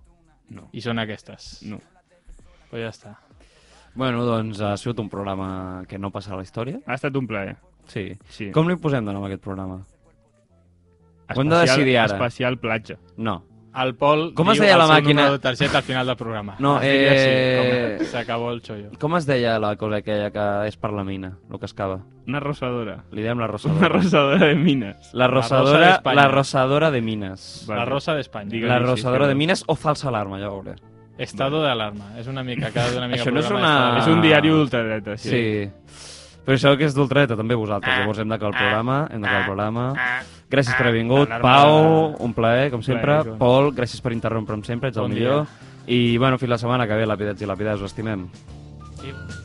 Speaker 4: No.
Speaker 5: I són aquestes.
Speaker 4: No.
Speaker 5: Pues ja està.
Speaker 3: Bueno, doncs ha sigut un programa que no passa a la història.
Speaker 4: Ha estat un plaer.
Speaker 3: Sí.
Speaker 4: Sí.
Speaker 3: Com li posem de nom a aquest programa?
Speaker 4: Especial,
Speaker 3: Ho hem de decidir ara.
Speaker 4: Especial platja.
Speaker 3: No.
Speaker 5: El Pol
Speaker 3: Com es
Speaker 5: diu
Speaker 3: deia
Speaker 5: el
Speaker 3: la
Speaker 5: seu
Speaker 3: màquina?
Speaker 5: número de targeta al final del programa.
Speaker 3: No,
Speaker 5: Es diria així,
Speaker 3: eh,
Speaker 5: com S'acabó el xollo.
Speaker 3: Com es deia la cosa aquella que és per la mina, el que es cava?
Speaker 4: Una rosadora.
Speaker 3: Li dèiem la
Speaker 4: Una
Speaker 3: rosadora.
Speaker 4: rosadora de mines.
Speaker 3: La
Speaker 5: rosa
Speaker 3: rosadora,
Speaker 5: d'Espanya.
Speaker 3: la rosadora de mines.
Speaker 5: La rosa d'Espanya.
Speaker 4: Digues-li
Speaker 3: La
Speaker 4: si és
Speaker 3: rosadora
Speaker 4: que
Speaker 3: de
Speaker 4: no.
Speaker 3: mines o falsa alarma, ja ho veuré.
Speaker 5: Estado d'alarma. És una mica, cada una mica...
Speaker 3: Això no és
Speaker 5: programa
Speaker 3: una-
Speaker 5: d'estado.
Speaker 4: És un diari d'ultradreta, sí.
Speaker 3: Sí. Però sabeu que és d'ultreta, també vosaltres. Llavors hem d'acabar el programa, hem d'acabar el programa. Gràcies per haver vingut. Pau, un plaer, com sempre.
Speaker 4: Joan.
Speaker 3: Pol, gràcies per interrompre'm sempre, ets el
Speaker 5: Bon
Speaker 3: millor. I, bueno, fins la setmana que ve, lapidets i lapidades, us estimem.
Speaker 5: Sí.